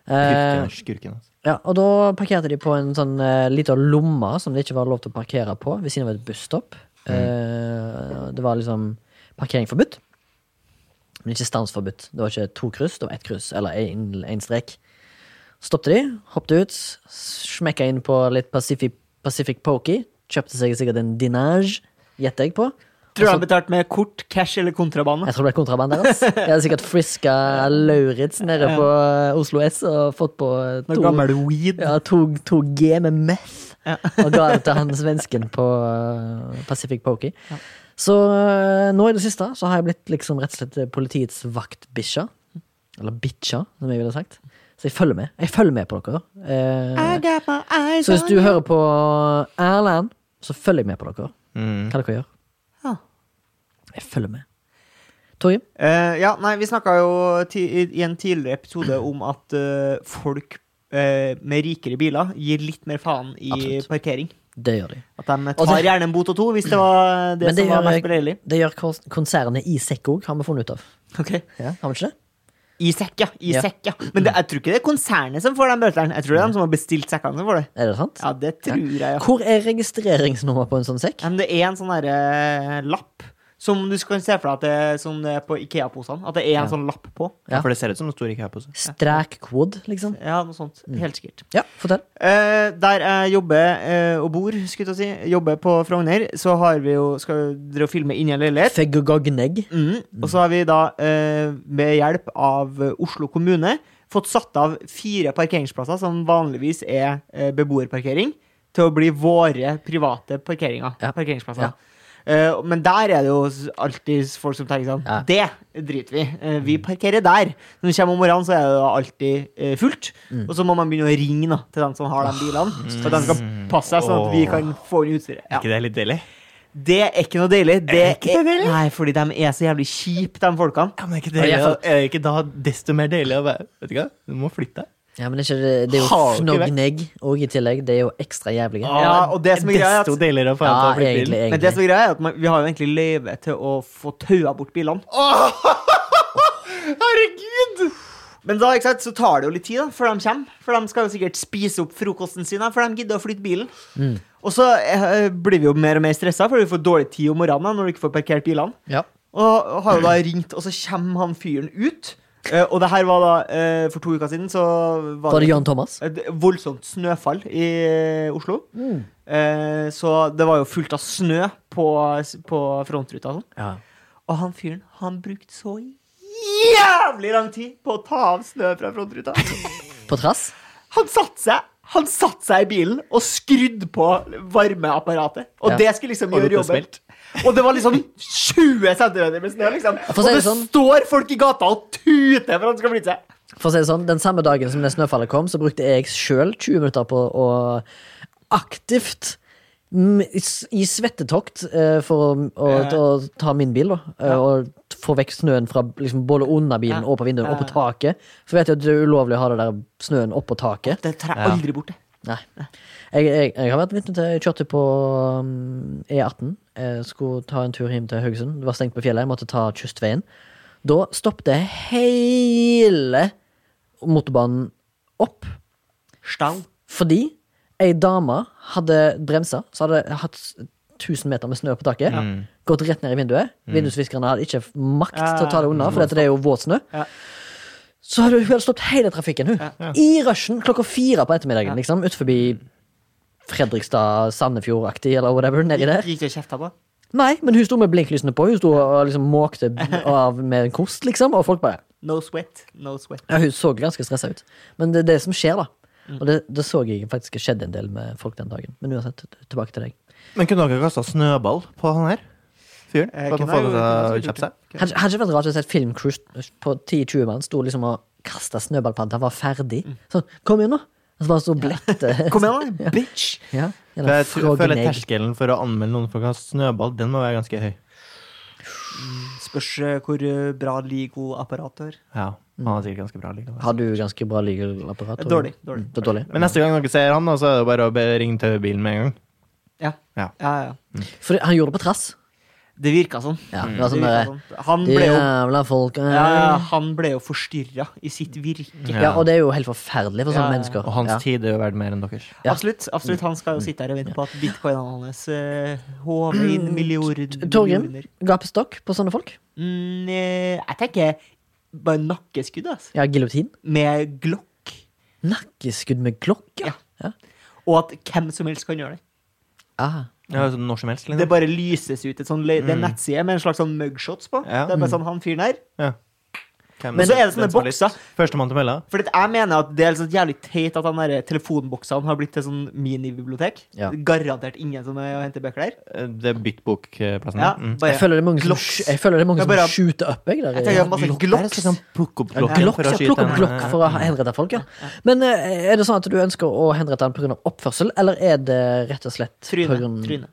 [SPEAKER 2] Eh,
[SPEAKER 3] Skurken, skurken. altså.
[SPEAKER 2] ja, og da parkerte de på en sånn uh, lita lomme som det ikke var lov til å parkere på, ved siden av et busstopp. Eh, det var liksom parkering forbudt, men ikke stansforbudt. Det var ikke to kryss, det var ett kryss, eller én én strek. Stoppte de, hoppte ut, smekka inn på litt Pacific, Pacific Pokey, kjøpte seg sikkert en dinage, gjetter jeg på.
[SPEAKER 1] Tror du
[SPEAKER 2] Altså-
[SPEAKER 1] han betalte med kort, cash eller kontrabane?
[SPEAKER 2] Jeg tror det er kontraband deres. Jeg hadde sikkert friska Lauritz nede på eh, Oslo S og fått på
[SPEAKER 1] Noe
[SPEAKER 2] to
[SPEAKER 1] gammel weed.
[SPEAKER 2] ja, to, to G med meth
[SPEAKER 1] Ja.
[SPEAKER 2] og ga det til han svensken på eh, Pacific Pokey. Så eh, nå i det siste eh, så har jeg blitt liksom rett og slett politiets vaktbikkja. Eller bitcha, som jeg ville sagt. Så jeg følger med. Jeg følger med på dere. Eh,
[SPEAKER 1] I got my eyes
[SPEAKER 2] så hvis
[SPEAKER 1] on
[SPEAKER 2] du
[SPEAKER 1] you.
[SPEAKER 2] hører på Erlend, så følger jeg med på dere.
[SPEAKER 3] Mm.
[SPEAKER 2] Hva dere gjør.
[SPEAKER 1] Ja.
[SPEAKER 2] Jeg følger med. Torgrim,
[SPEAKER 1] Eh, ja, nei, vi snakka jo ti i i en tidligere episode om at eh, folk eh, med rikere biler gir litt mer faen i
[SPEAKER 2] Absolutt.
[SPEAKER 1] parkering.
[SPEAKER 2] det gjør de.
[SPEAKER 1] At de tar
[SPEAKER 2] Og det-
[SPEAKER 1] gjerne en bot og to, hvis det var det,
[SPEAKER 2] Men det
[SPEAKER 1] som var
[SPEAKER 2] gjør jeg-
[SPEAKER 1] mest beleilig.
[SPEAKER 2] Det gjør kons- konsernet i sekk òg, har vi funnet ut av.
[SPEAKER 1] Okay.
[SPEAKER 2] Har vi ikke det?
[SPEAKER 1] I sekk, ja. I
[SPEAKER 2] Ja.
[SPEAKER 1] sekk, ja. Men det, jeg tror ikke det er konsernet som får de bøtene. Jeg tror det er de som har bestilt sekkene som får det.
[SPEAKER 2] Er det sant?
[SPEAKER 1] Ja, det tror jeg, ja.
[SPEAKER 2] Hvor er registreringsnummer på en sånn sekk?
[SPEAKER 1] Men det er en sånn derre eh, lapp som du skal se for deg at det er sånn eh, på Ikea-posene. At det er en
[SPEAKER 2] Ja.
[SPEAKER 1] sånn lapp på.
[SPEAKER 2] Ja.
[SPEAKER 3] Ja, for det ser ut som det står ikke her på seg.
[SPEAKER 2] Stræk quad, liksom?
[SPEAKER 1] Ja, noe sånt. Helt sikkert.
[SPEAKER 2] Ja, fortell.
[SPEAKER 1] Mm. Eh, der jeg jobber eh, og bor, skulle jeg til å si, jobber på Frogner, så har vi jo, skal vi drive og filme inni en leilighet.
[SPEAKER 2] Fegg og gagnegg.
[SPEAKER 1] Mm. Og så har vi da, eh, med hjelp av eh, Oslo kommune, fått satt av fire parkeringsplasser som vanligvis er eh, beboerparkering, til å bli våre private parkeringer.
[SPEAKER 2] Ja.
[SPEAKER 1] Parkeringsplasser. Eh, men der er det jo s- alltid folk som tenker sånn
[SPEAKER 2] Ja.
[SPEAKER 1] Det driter vi i. Eh, vi parkerer der. Når vi kommer om morgenen, så er det jo alltid eh, fullt.
[SPEAKER 2] Mm.
[SPEAKER 1] Og så må man begynne å ringe da, til dem som har
[SPEAKER 2] Ah.
[SPEAKER 1] de bilene, for at de skal passe seg, sånn at vi
[SPEAKER 3] Åh.
[SPEAKER 1] kan få inn utstyret. Ja.
[SPEAKER 3] Ikke det er litt deilig?
[SPEAKER 1] Det er ikke noe deilig. Det
[SPEAKER 3] Er ikke det deilig?
[SPEAKER 1] Nei, fordi de er så jævlig kjipe, de folkene.
[SPEAKER 3] Ja, men er ikke,
[SPEAKER 2] Og jeg
[SPEAKER 3] deilig,
[SPEAKER 2] får-
[SPEAKER 3] er det ikke da desto mer deilig å være Vet du hva, du må flytte deg.
[SPEAKER 2] Ja, men det er, ikke, det- det er jo
[SPEAKER 3] Har ikke vært.
[SPEAKER 2] fnognegg òg i tillegg. Det er jo ekstra jævlige.
[SPEAKER 1] Ja, og det som er greia er at-
[SPEAKER 3] Desto deiligere å få
[SPEAKER 2] Ja,
[SPEAKER 3] deg til å flytte
[SPEAKER 2] egentlig,
[SPEAKER 1] Men
[SPEAKER 3] bil.
[SPEAKER 1] det
[SPEAKER 2] egentlig.
[SPEAKER 1] som er greia, er at man, vi har jo egentlig løyve til å få taua bort bilene.
[SPEAKER 3] Herregud!
[SPEAKER 1] Men da ikke sant, så tar det jo litt tid da, før de kommer. For de skal jo sikkert spise opp frokosten sin da, før de gidder å flytte bilen. Og så eh, blir vi jo mer og mer stressa, for vi får dårlig tid om morgenen da, når du ikke får parkert bilene.
[SPEAKER 2] Ja.
[SPEAKER 1] Og har jo da ringt, og så kommer han fyren ut. Eh, og det her var da eh, for to uker siden, så var,
[SPEAKER 2] Var det Jan Thomas?
[SPEAKER 1] et voldsomt snøfall i Oslo.
[SPEAKER 2] Mm.
[SPEAKER 1] Eh, så det var jo fullt av snø på, på frontruta. og Sånn.
[SPEAKER 2] Ja.
[SPEAKER 1] Og han fyren, han brukte så jævlig lang tid på å ta av snø fra frontruta.
[SPEAKER 2] På trass?
[SPEAKER 1] Han satte seg han satt seg i bilen og skrudde på varmeapparatet. Og
[SPEAKER 2] Ja.
[SPEAKER 1] det skulle liksom
[SPEAKER 3] Og det
[SPEAKER 1] gjøre
[SPEAKER 3] ble
[SPEAKER 1] jobben.
[SPEAKER 3] smelt.
[SPEAKER 1] Og det var liksom 20 cm med snø, liksom.
[SPEAKER 2] For å
[SPEAKER 1] Og
[SPEAKER 2] si
[SPEAKER 1] det
[SPEAKER 2] det sånn-
[SPEAKER 1] står folk i gata og tuter for at han skal flytte seg.
[SPEAKER 2] For å si det sånn, Den samme dagen som det snøfallet kom, så brukte jeg sjøl 20 minutter på å aktivt mm, i s- i svettetokt eh, for å, å, å ta min bil, da. eh, Og t- få vekk snøen fra liksom, både under bilen og på vinduet og på taket. For vet jeg at det er ulovlig å ha det der snøen oppå taket.
[SPEAKER 1] Det tar jeg
[SPEAKER 3] Ja.
[SPEAKER 1] aldri bort, det.
[SPEAKER 2] Nei. Jeg, jeg, jeg har vært vitne til Jeg kjørte på mm, E18. Jeg skulle ta en tur hjem til Haugesund. Det var stengt på fjellet. Jeg måtte ta kystveien. Da stoppet hele motorbanen opp
[SPEAKER 1] Stang.
[SPEAKER 2] fordi ei dame hadde bremsa, så hadde jeg hatt 1000 meter med snø på taket. Gått rett ned i vinduet. Vindusviskerne hadde ikke makt til å ta det unna, for dette er jo våt snø.
[SPEAKER 1] Ja.
[SPEAKER 2] Så hadde hun hun hadde stoppet hele trafikken, hun. I rushen klokka fire på ettermiddagen, liksom. Ut forbi Fredrikstad, Sandefjord-aktig, eller whatever, nedi der.
[SPEAKER 1] Gikk du og kjefta på?
[SPEAKER 2] Nei, men hun sto med blinklysene på. Hun sto og liksom måkte av med en kost, liksom. Og folk bare
[SPEAKER 1] No sweat. No sweat.
[SPEAKER 2] ja, Hun så ganske stressa ut. Men det er det som skjer, da.
[SPEAKER 1] Mm.
[SPEAKER 2] Og det, det så jeg faktisk skjedde en del med folk den dagen. Men uansett, t- tilbake til deg.
[SPEAKER 3] Men kunne dere kasta snøball på han her? Fyren?
[SPEAKER 1] Eh,
[SPEAKER 3] For at
[SPEAKER 1] kunne
[SPEAKER 3] han får
[SPEAKER 1] jeg jo- kunne
[SPEAKER 3] det
[SPEAKER 1] jeg
[SPEAKER 3] til å
[SPEAKER 1] sikkert
[SPEAKER 3] kjappe seg?
[SPEAKER 1] gjort det.
[SPEAKER 2] Hadde hadde ikke vært rart å se et filmcruise på 10-20 mann sto liksom og kasta snøball på han til han var ferdig. Sånn, kom igjen, nå! Og så bare så blette.
[SPEAKER 1] Mm. (laughs) Kom igjen, da, bitch!
[SPEAKER 2] (laughs) Ja,
[SPEAKER 3] For jeg tror-
[SPEAKER 2] eller
[SPEAKER 3] føler
[SPEAKER 2] frognegg.
[SPEAKER 3] terskelen for å anmelde noen for å kaste snøball, den må være ganske høy.
[SPEAKER 1] Spørs eh, hvor eh, bra Ligo-apparatet er.
[SPEAKER 3] Ja, han har sikkert ganske bra liksom. likevel.
[SPEAKER 2] Har du ganske bra legal-apparat? Torgeir?
[SPEAKER 1] Eh,
[SPEAKER 2] Mm,
[SPEAKER 1] Dårlig, dårlig.
[SPEAKER 2] Det er dårlig.
[SPEAKER 3] Men neste gang dere ser han, da, så er det bare å be- ringe til bilen med en gang.
[SPEAKER 1] Ja.
[SPEAKER 3] Ja.
[SPEAKER 1] ja, ja.
[SPEAKER 2] For han gjorde det på trass.
[SPEAKER 1] Det virka sånn.
[SPEAKER 2] Ja, det var
[SPEAKER 1] Det
[SPEAKER 2] sånn
[SPEAKER 1] virka
[SPEAKER 2] derre
[SPEAKER 1] sånn. Han ble jo,
[SPEAKER 2] Jævla folk. eh.
[SPEAKER 1] ja, ja, han ble jo forstyrra i sitt virke.
[SPEAKER 2] Ja, og det er jo helt forferdelig for sånne
[SPEAKER 1] Ja, ja.
[SPEAKER 2] mennesker.
[SPEAKER 3] Og hans
[SPEAKER 2] ja.
[SPEAKER 3] tid er jo verdt mer enn deres.
[SPEAKER 2] Ja.
[SPEAKER 1] Absolutt. absolutt, Han skal jo sitte her og vente på at bitcoinene hans eh, håver inn millioner.
[SPEAKER 2] Torgrim,
[SPEAKER 1] millioner.
[SPEAKER 2] gapestokk på sånne folk?
[SPEAKER 1] Mm, eh, jeg tenker bare nakkeskudd, altså.
[SPEAKER 2] Ja, giljotin?
[SPEAKER 1] Med glokk.
[SPEAKER 2] Nakkeskudd med klokke?
[SPEAKER 1] Ja. Og at hvem som helst kan gjøre det.
[SPEAKER 2] Ah.
[SPEAKER 3] Ja, altså når som helst,
[SPEAKER 1] Det
[SPEAKER 3] liksom.
[SPEAKER 1] bare lyses ut et sånn, le- det er en nettside med en slags sånn mugshots på.
[SPEAKER 3] Ja.
[SPEAKER 1] Det er bare sånn, han fyren her
[SPEAKER 3] Ja. Hvem
[SPEAKER 1] Men så er det
[SPEAKER 3] den
[SPEAKER 1] sånne
[SPEAKER 3] som har lyst?
[SPEAKER 1] bokser.
[SPEAKER 3] Førstemann til å melde.
[SPEAKER 1] For jeg mener at det er så jævlig teit at den der telefonboksene har blitt til sånn minibibliotek.
[SPEAKER 2] Ja.
[SPEAKER 1] Garantert ingen som er å hente bøker der.
[SPEAKER 3] Eh, Det er byttbokplassen.
[SPEAKER 1] Ja,
[SPEAKER 3] Mm.
[SPEAKER 2] Jeg
[SPEAKER 1] bare,
[SPEAKER 2] føler det er mange som,
[SPEAKER 1] Glocks.
[SPEAKER 2] jeg føler det er mange
[SPEAKER 1] Jeg
[SPEAKER 2] som
[SPEAKER 1] bare-
[SPEAKER 2] skjuter opp, jeg. Der.
[SPEAKER 1] jeg tenker masse
[SPEAKER 3] Glock- Der
[SPEAKER 1] glocks.
[SPEAKER 3] skal han plukke opp glocken
[SPEAKER 2] Glocks,
[SPEAKER 3] for å
[SPEAKER 2] ja,
[SPEAKER 3] skyte
[SPEAKER 2] sånn plukk opp
[SPEAKER 3] en- eh,
[SPEAKER 2] glokk for å henrette folk, ja. Men eh, er det sånn at du ønsker å henrette han pga. oppførsel, eller er det rett og slett på
[SPEAKER 1] Tryne.
[SPEAKER 2] grunn-
[SPEAKER 1] tryne.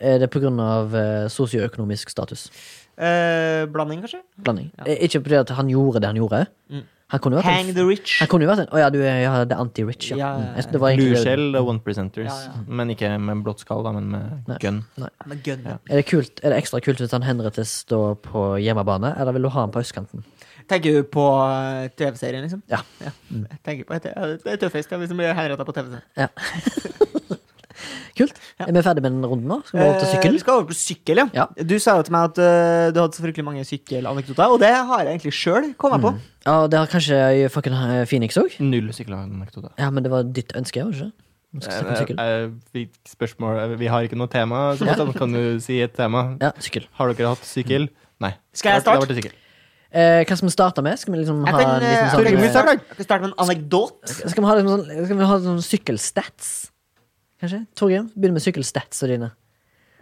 [SPEAKER 2] Er det pga. eh, sosioøkonomisk status?
[SPEAKER 1] Eh, blanding, kanskje?
[SPEAKER 2] Blanding.
[SPEAKER 1] Ja.
[SPEAKER 2] Eh, Ikke fordi at han gjorde det han gjorde.
[SPEAKER 1] Mm.
[SPEAKER 2] Han kunne jo vært
[SPEAKER 1] Hang
[SPEAKER 2] en,
[SPEAKER 1] the rich.
[SPEAKER 2] han kunne jo vært en Å ja, du er ja, det er anti-rich, ja.
[SPEAKER 1] Ja,
[SPEAKER 2] Mm.
[SPEAKER 1] ja, ja.
[SPEAKER 2] Jeg synes Det var egentlig det-
[SPEAKER 3] Blueskjell og one percenters.
[SPEAKER 1] Ja, ja.
[SPEAKER 3] Men ikke med blått skall, da, men med
[SPEAKER 2] Nei.
[SPEAKER 3] gun.
[SPEAKER 1] Med gun.
[SPEAKER 3] Ja.
[SPEAKER 2] Er det, kult, er det ekstra kult hvis han henrettes da på hjemmebane, eller vil du ha han på østkanten?
[SPEAKER 1] Tenker du på eh, TV-serien, liksom?
[SPEAKER 2] Ja.
[SPEAKER 1] Jeg Tenker på, ja, det er tøffest ja, hvis de blir henrettet på TV-serien.
[SPEAKER 2] Kult.
[SPEAKER 1] Ja.
[SPEAKER 2] Er vi ferdig med den runden nå? Skal vi over til
[SPEAKER 1] Eh,
[SPEAKER 2] sykkel?
[SPEAKER 1] Du skal over på sykkel, ja.
[SPEAKER 2] Ja.
[SPEAKER 1] Du sa jo til meg at eh, du hadde så fryktelig mange sykkelanekdoter, og det har jeg egentlig sjøl kommet på.
[SPEAKER 2] Ja, det har kanskje fucking eh, Phoenix òg?
[SPEAKER 3] Null sykkelanekdote.
[SPEAKER 2] Ja, men det var ditt ønske, var det ikke? Vi skal snakke om sykkel.
[SPEAKER 3] Eh, eh, vi- Spørsmål eh, Vi har ikke noe tema. Sebastian, kan du si et tema?
[SPEAKER 2] Ja, sykkel.
[SPEAKER 3] Har dere hatt sykkel? Nei.
[SPEAKER 1] Skal jeg
[SPEAKER 3] Da- da
[SPEAKER 1] starte?
[SPEAKER 3] ble det sykkel.
[SPEAKER 2] Eh, hva skal vi starte med? Skal vi liksom
[SPEAKER 1] Jeg
[SPEAKER 2] ha
[SPEAKER 1] kan,
[SPEAKER 2] en
[SPEAKER 1] eh,
[SPEAKER 2] liksom
[SPEAKER 1] jeg,
[SPEAKER 2] sånn,
[SPEAKER 1] kan
[SPEAKER 3] Torgrim,
[SPEAKER 2] eh,
[SPEAKER 1] starte, jeg kan starte med en anekdot.
[SPEAKER 2] Skal vi ha liksom sånn, skal vi ha sånn sykkelstats? Kanskje? Torgrim, begynn med sykkelstatsa dine.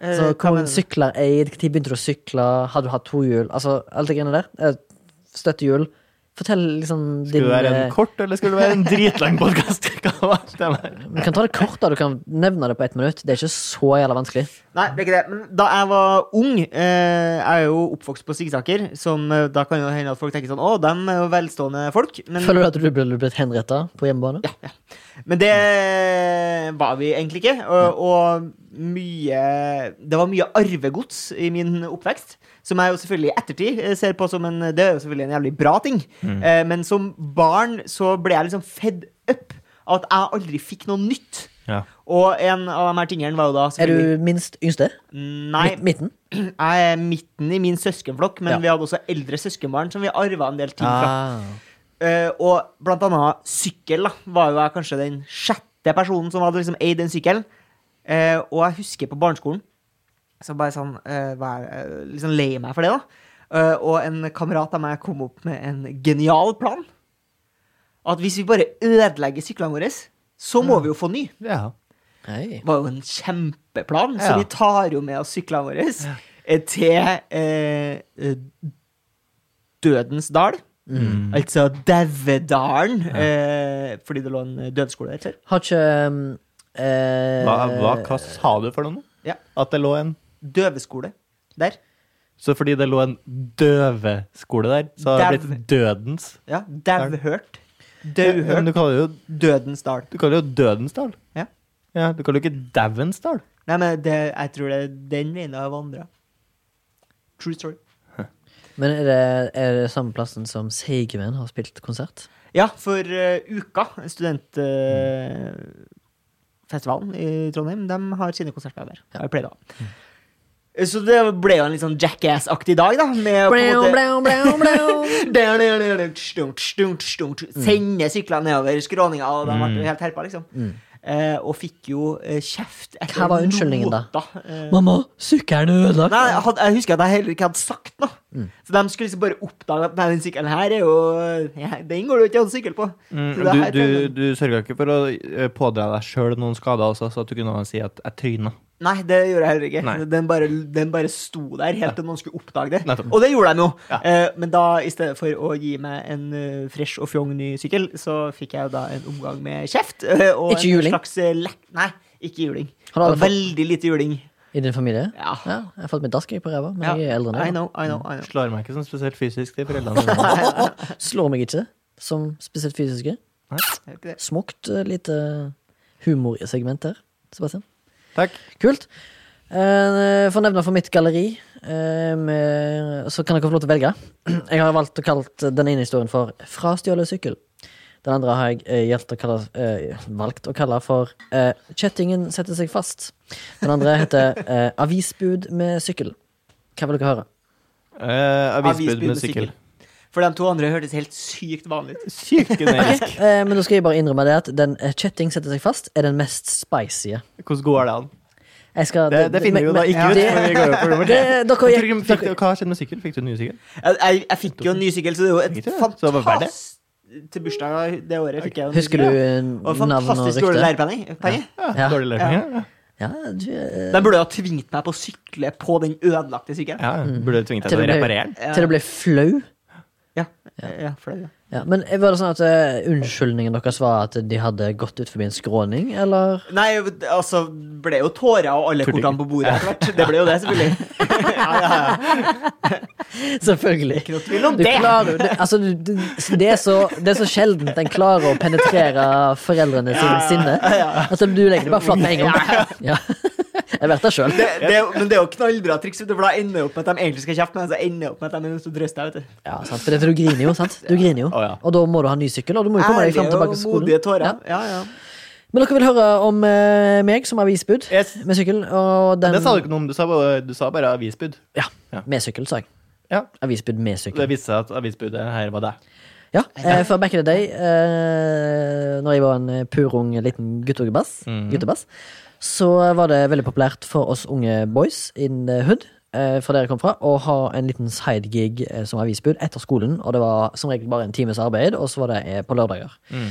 [SPEAKER 1] Eh,
[SPEAKER 2] Så
[SPEAKER 1] hva
[SPEAKER 2] Hvor
[SPEAKER 1] mener
[SPEAKER 2] mange
[SPEAKER 1] du?
[SPEAKER 2] sykler eid? Når begynte du å sykle? Har du hatt to hjul? Altså, alt det greiene der. Eh, Støttehjul. Fortell liksom
[SPEAKER 3] Skal
[SPEAKER 2] din
[SPEAKER 3] det være
[SPEAKER 2] eh,
[SPEAKER 3] en kort, eller skal det være en dritlang (laughs) podkast? Hva
[SPEAKER 2] Vi kan ta det kort, da. Du kan nevne det på ett minutt. Det er ikke så jævla vanskelig.
[SPEAKER 1] Nei, det er ikke det. Men da jeg var ung eh, Jeg er jo oppvokst på Sigsaker, som eh, da kan jo hende at folk tenker sånn Å, dem er jo velstående folk. Men,
[SPEAKER 2] Føler du at du ble blitt henretta på hjemmebane?
[SPEAKER 1] men det var vi egentlig ikke. Og, og mye Det var mye arvegods i min oppvekst. Som jeg jo selvfølgelig i ettertid eh, ser på som en Det er jo selvfølgelig en jævlig bra ting.
[SPEAKER 2] Mm.
[SPEAKER 1] Eh, men som barn så ble jeg liksom fed up av at jeg aldri fikk noe nytt. Og en av de her tingene var jo da
[SPEAKER 2] Er
[SPEAKER 1] selvfølgelig
[SPEAKER 2] du minst yngste?
[SPEAKER 1] Nei.
[SPEAKER 2] Midt, midten?
[SPEAKER 1] Jeg er midten i min søskenflokk, men
[SPEAKER 2] Ja. Ah.
[SPEAKER 1] vi hadde også eldre søskenbarn som vi arva en del ting fra. Eh, og blant annet sykkel da, var jo jeg kanskje den sjette personen som hadde liksom eid den sykkelen. Eh, og jeg husker på barneskolen, så bare sånn, eh, var jeg eh, liksom lei meg for det da. Eh, og en kamerat av meg kom opp med en genial plan. At hvis vi bare ødelegger syklene våre, så må vi jo få ny
[SPEAKER 3] Ja.
[SPEAKER 2] Hei.
[SPEAKER 1] var jo en kjempeplan,
[SPEAKER 3] Ja.
[SPEAKER 1] så vi tar jo med oss syklene våre eh, til eh, eh, Dødens dal.
[SPEAKER 3] Mm.
[SPEAKER 1] Altså Dauedalen, eh, fordi det lå en dødskole der før.
[SPEAKER 2] Har ikke um, eh,
[SPEAKER 3] Hva, hva, hva sa du for noe?
[SPEAKER 1] Ja.
[SPEAKER 3] At det lå en
[SPEAKER 1] Døveskole der.
[SPEAKER 3] Så fordi det lå en døveskole der, så har det blitt dødens.
[SPEAKER 1] Ja, Dauhørt.
[SPEAKER 3] Ja, men
[SPEAKER 1] Dauhørt.
[SPEAKER 3] du kaller det jo
[SPEAKER 1] Dødens dal.
[SPEAKER 3] Du kaller det jo Dødensdal.
[SPEAKER 1] Ja.
[SPEAKER 3] Ja, du kaller det ikke Dauensdal.
[SPEAKER 1] Nei, men det, jeg tror det er den veien jeg har vandra. True story.
[SPEAKER 2] Men er det, er det samme plassen som Seigemen har spilt konsert?
[SPEAKER 1] Ja, for eh, Uka, studentfestivalen i Trondheim, de har sine konserter der. Har pleid å ha. Så det ble jo en litt sånn Jackass-aktig dag, da. Med å på en måte (laughs) Der, der, der, der, stunk, stunk, stunk, Sende syklene nedover skråninga, og de
[SPEAKER 2] Mm.
[SPEAKER 1] ble jo helt herpa, liksom. Eh, og fikk jo eh, kjeft etter
[SPEAKER 2] Hva var unnskyldningen da?
[SPEAKER 1] nota, eh,
[SPEAKER 2] Mamma, sykkelen er ødelagt!
[SPEAKER 1] Nei, jeg, hadde, jeg husker at jeg heller ikke hadde sagt noe.
[SPEAKER 2] Mm.
[SPEAKER 1] Så de skulle liksom bare oppdage at nei, den sykkelen her er jo ja, Den går det jo ikke an å sykle på. Så
[SPEAKER 3] Mm,
[SPEAKER 1] det
[SPEAKER 3] du
[SPEAKER 1] her-
[SPEAKER 3] du, du sørga ikke for å eh, pådra deg sjøl noen skader, altså, så at du kunne si at 'jeg tryna'.
[SPEAKER 1] Nei, det gjorde jeg heller ikke.
[SPEAKER 3] Nei.
[SPEAKER 1] Den bare, den bare sto der helt til noen skulle oppdage det.
[SPEAKER 3] Nettopp.
[SPEAKER 1] Og det gjorde de jo.
[SPEAKER 3] Ja.
[SPEAKER 1] Eh, men da, i stedet for å gi meg en eh, fresh og fjong ny sykkel, så fikk jeg jo da en omgang med kjeft. eh, og
[SPEAKER 2] Ikke
[SPEAKER 1] en
[SPEAKER 2] juling?
[SPEAKER 1] Slags, eh, lek- nei, ikke juling.
[SPEAKER 2] Har du aldri
[SPEAKER 1] Og Veldig lite juling.
[SPEAKER 2] I din familie?
[SPEAKER 1] Ja.
[SPEAKER 2] Ja, jeg har fått mitt dask jeg, på ræva, men jeg er eldre enn
[SPEAKER 1] I
[SPEAKER 2] deg.
[SPEAKER 1] know, I know, I know.
[SPEAKER 3] Slår meg ikke sånn spesielt fysisk, de
[SPEAKER 1] (laughs)
[SPEAKER 3] foreldrene dine.
[SPEAKER 2] da. Slår meg ikke som spesielt fysiske.
[SPEAKER 1] Er det ikke det?
[SPEAKER 2] Smukt eh, lite humorsegment der, Sebastian.
[SPEAKER 3] Takk.
[SPEAKER 2] Kult. Eh, For å nevne for mitt galleri, eh, med- så kan dere få lov til å velge. (clears throat) Jeg har valgt å kalle den ene historien for 'Frastjålet sykkel'. Den andre har jeg eh, gjeldt å kalle, eh, valgt å kalle for eh, 'Kjettingen setter seg fast'. Den andre heter eh, 'Avisbud med sykkel'. Hva vil dere høre?
[SPEAKER 3] Eh,
[SPEAKER 1] Avisbud
[SPEAKER 3] avisbud
[SPEAKER 1] med
[SPEAKER 3] med sykkel.
[SPEAKER 1] For de to andre hørtes helt sykt vanlig ut.
[SPEAKER 3] Sykt generisk.
[SPEAKER 1] (laughs)
[SPEAKER 2] Eh, Men nå skal jeg bare innrømme det at den eh, 'Kjetting setter seg fast' er den mest spicy.
[SPEAKER 3] Hvordan går det an?
[SPEAKER 2] Jeg skal,
[SPEAKER 3] Det, det finner vi jo da
[SPEAKER 2] men-
[SPEAKER 3] ikke ut.
[SPEAKER 2] det-
[SPEAKER 3] når vi går over på nummer
[SPEAKER 2] Det,
[SPEAKER 3] tre.
[SPEAKER 2] dere
[SPEAKER 3] (laughs) Fikk,
[SPEAKER 2] gikk
[SPEAKER 3] du- fikk, du- hva har skjedd med sykkel? Fikk du en ny sykkel?
[SPEAKER 1] Jeg, jeg, jeg fikk jo en ny sykkel, så det er jo
[SPEAKER 3] Fikk du
[SPEAKER 1] et
[SPEAKER 3] det? Så det var verdt det?
[SPEAKER 1] fantastisk Til bursdagen det året fikk jeg jo en ny
[SPEAKER 2] Husker du
[SPEAKER 1] sykkel. Og
[SPEAKER 2] navn og
[SPEAKER 1] fantastisk dårlig
[SPEAKER 2] rykte?
[SPEAKER 1] lærepenger. penger.
[SPEAKER 2] Ja.
[SPEAKER 3] Dårlig løsning, ja.
[SPEAKER 2] Ja, du, eh,
[SPEAKER 1] De burde jo ha tvingt meg på å sykle på den ødelagte sykkelen.
[SPEAKER 3] ja. Burde du tvingt deg
[SPEAKER 2] Til
[SPEAKER 3] til
[SPEAKER 2] det
[SPEAKER 3] å
[SPEAKER 2] ble-
[SPEAKER 3] reparere den?
[SPEAKER 2] til det ble flau.
[SPEAKER 1] Ja, ja, for det, ja.
[SPEAKER 2] Ja, men var det sånn at eh, unnskyldningen deres var at de hadde gått ut forbi en skråning,
[SPEAKER 3] (laughs)
[SPEAKER 2] eller?
[SPEAKER 1] Nei, altså, ble jo tårer og alle
[SPEAKER 3] Fordi-
[SPEAKER 1] kortene på bordet etter hvert. Det ble jo det, selvfølgelig. ja, ja, ja.
[SPEAKER 2] Selvfølgelig.
[SPEAKER 1] Ikke noe tvil om
[SPEAKER 2] Du
[SPEAKER 1] det.
[SPEAKER 2] klarer, du, altså, du, du, det, er så, det er så sjeldent en klarer å penetrere foreldrene sin sinne. Altså, du legger det bare flatt med en gang. (laughs) Ja. Jeg vet det sjøl.
[SPEAKER 1] Det, det, er jo- men det er jo knallbra triks, vet du, for da ender det opp med at de egentlig skal kjefte, men så ender det opp med at de er nødt til å drøste deg, vet du.
[SPEAKER 2] Ja, sant, for dette, du griner jo, sant? Du griner jo.
[SPEAKER 3] Å, ja.
[SPEAKER 2] Og da må du ha ny sykkel, og du må jo komme deg fram tilbake til skolen.
[SPEAKER 1] modige tårer.
[SPEAKER 2] Ja.
[SPEAKER 1] Ja, ja.
[SPEAKER 2] Men dere vil høre om eh, meg som avisbud
[SPEAKER 3] Yes.
[SPEAKER 2] med sykkel, og den
[SPEAKER 3] Det sa du ikke noe om. Du sa bare, du sa bare avisbud.
[SPEAKER 2] Ja.
[SPEAKER 3] Ja.
[SPEAKER 2] Med sykkel, sa jeg.
[SPEAKER 3] Ja.
[SPEAKER 2] Avisbud med sykkel.
[SPEAKER 3] Det viste seg at avisbudet her var deg.
[SPEAKER 2] Ja, eh, for back in the day, eh, når jeg var en eh, purung liten guttungebass,
[SPEAKER 1] Mm.
[SPEAKER 2] guttebass, så var det veldig populært for oss unge boys in the hood, eh, fra der jeg kom fra, å ha en liten sidegig eh, som avisbud etter skolen. Og det var som regel bare en times arbeid, og så var det eh, på lørdager.
[SPEAKER 1] Mm.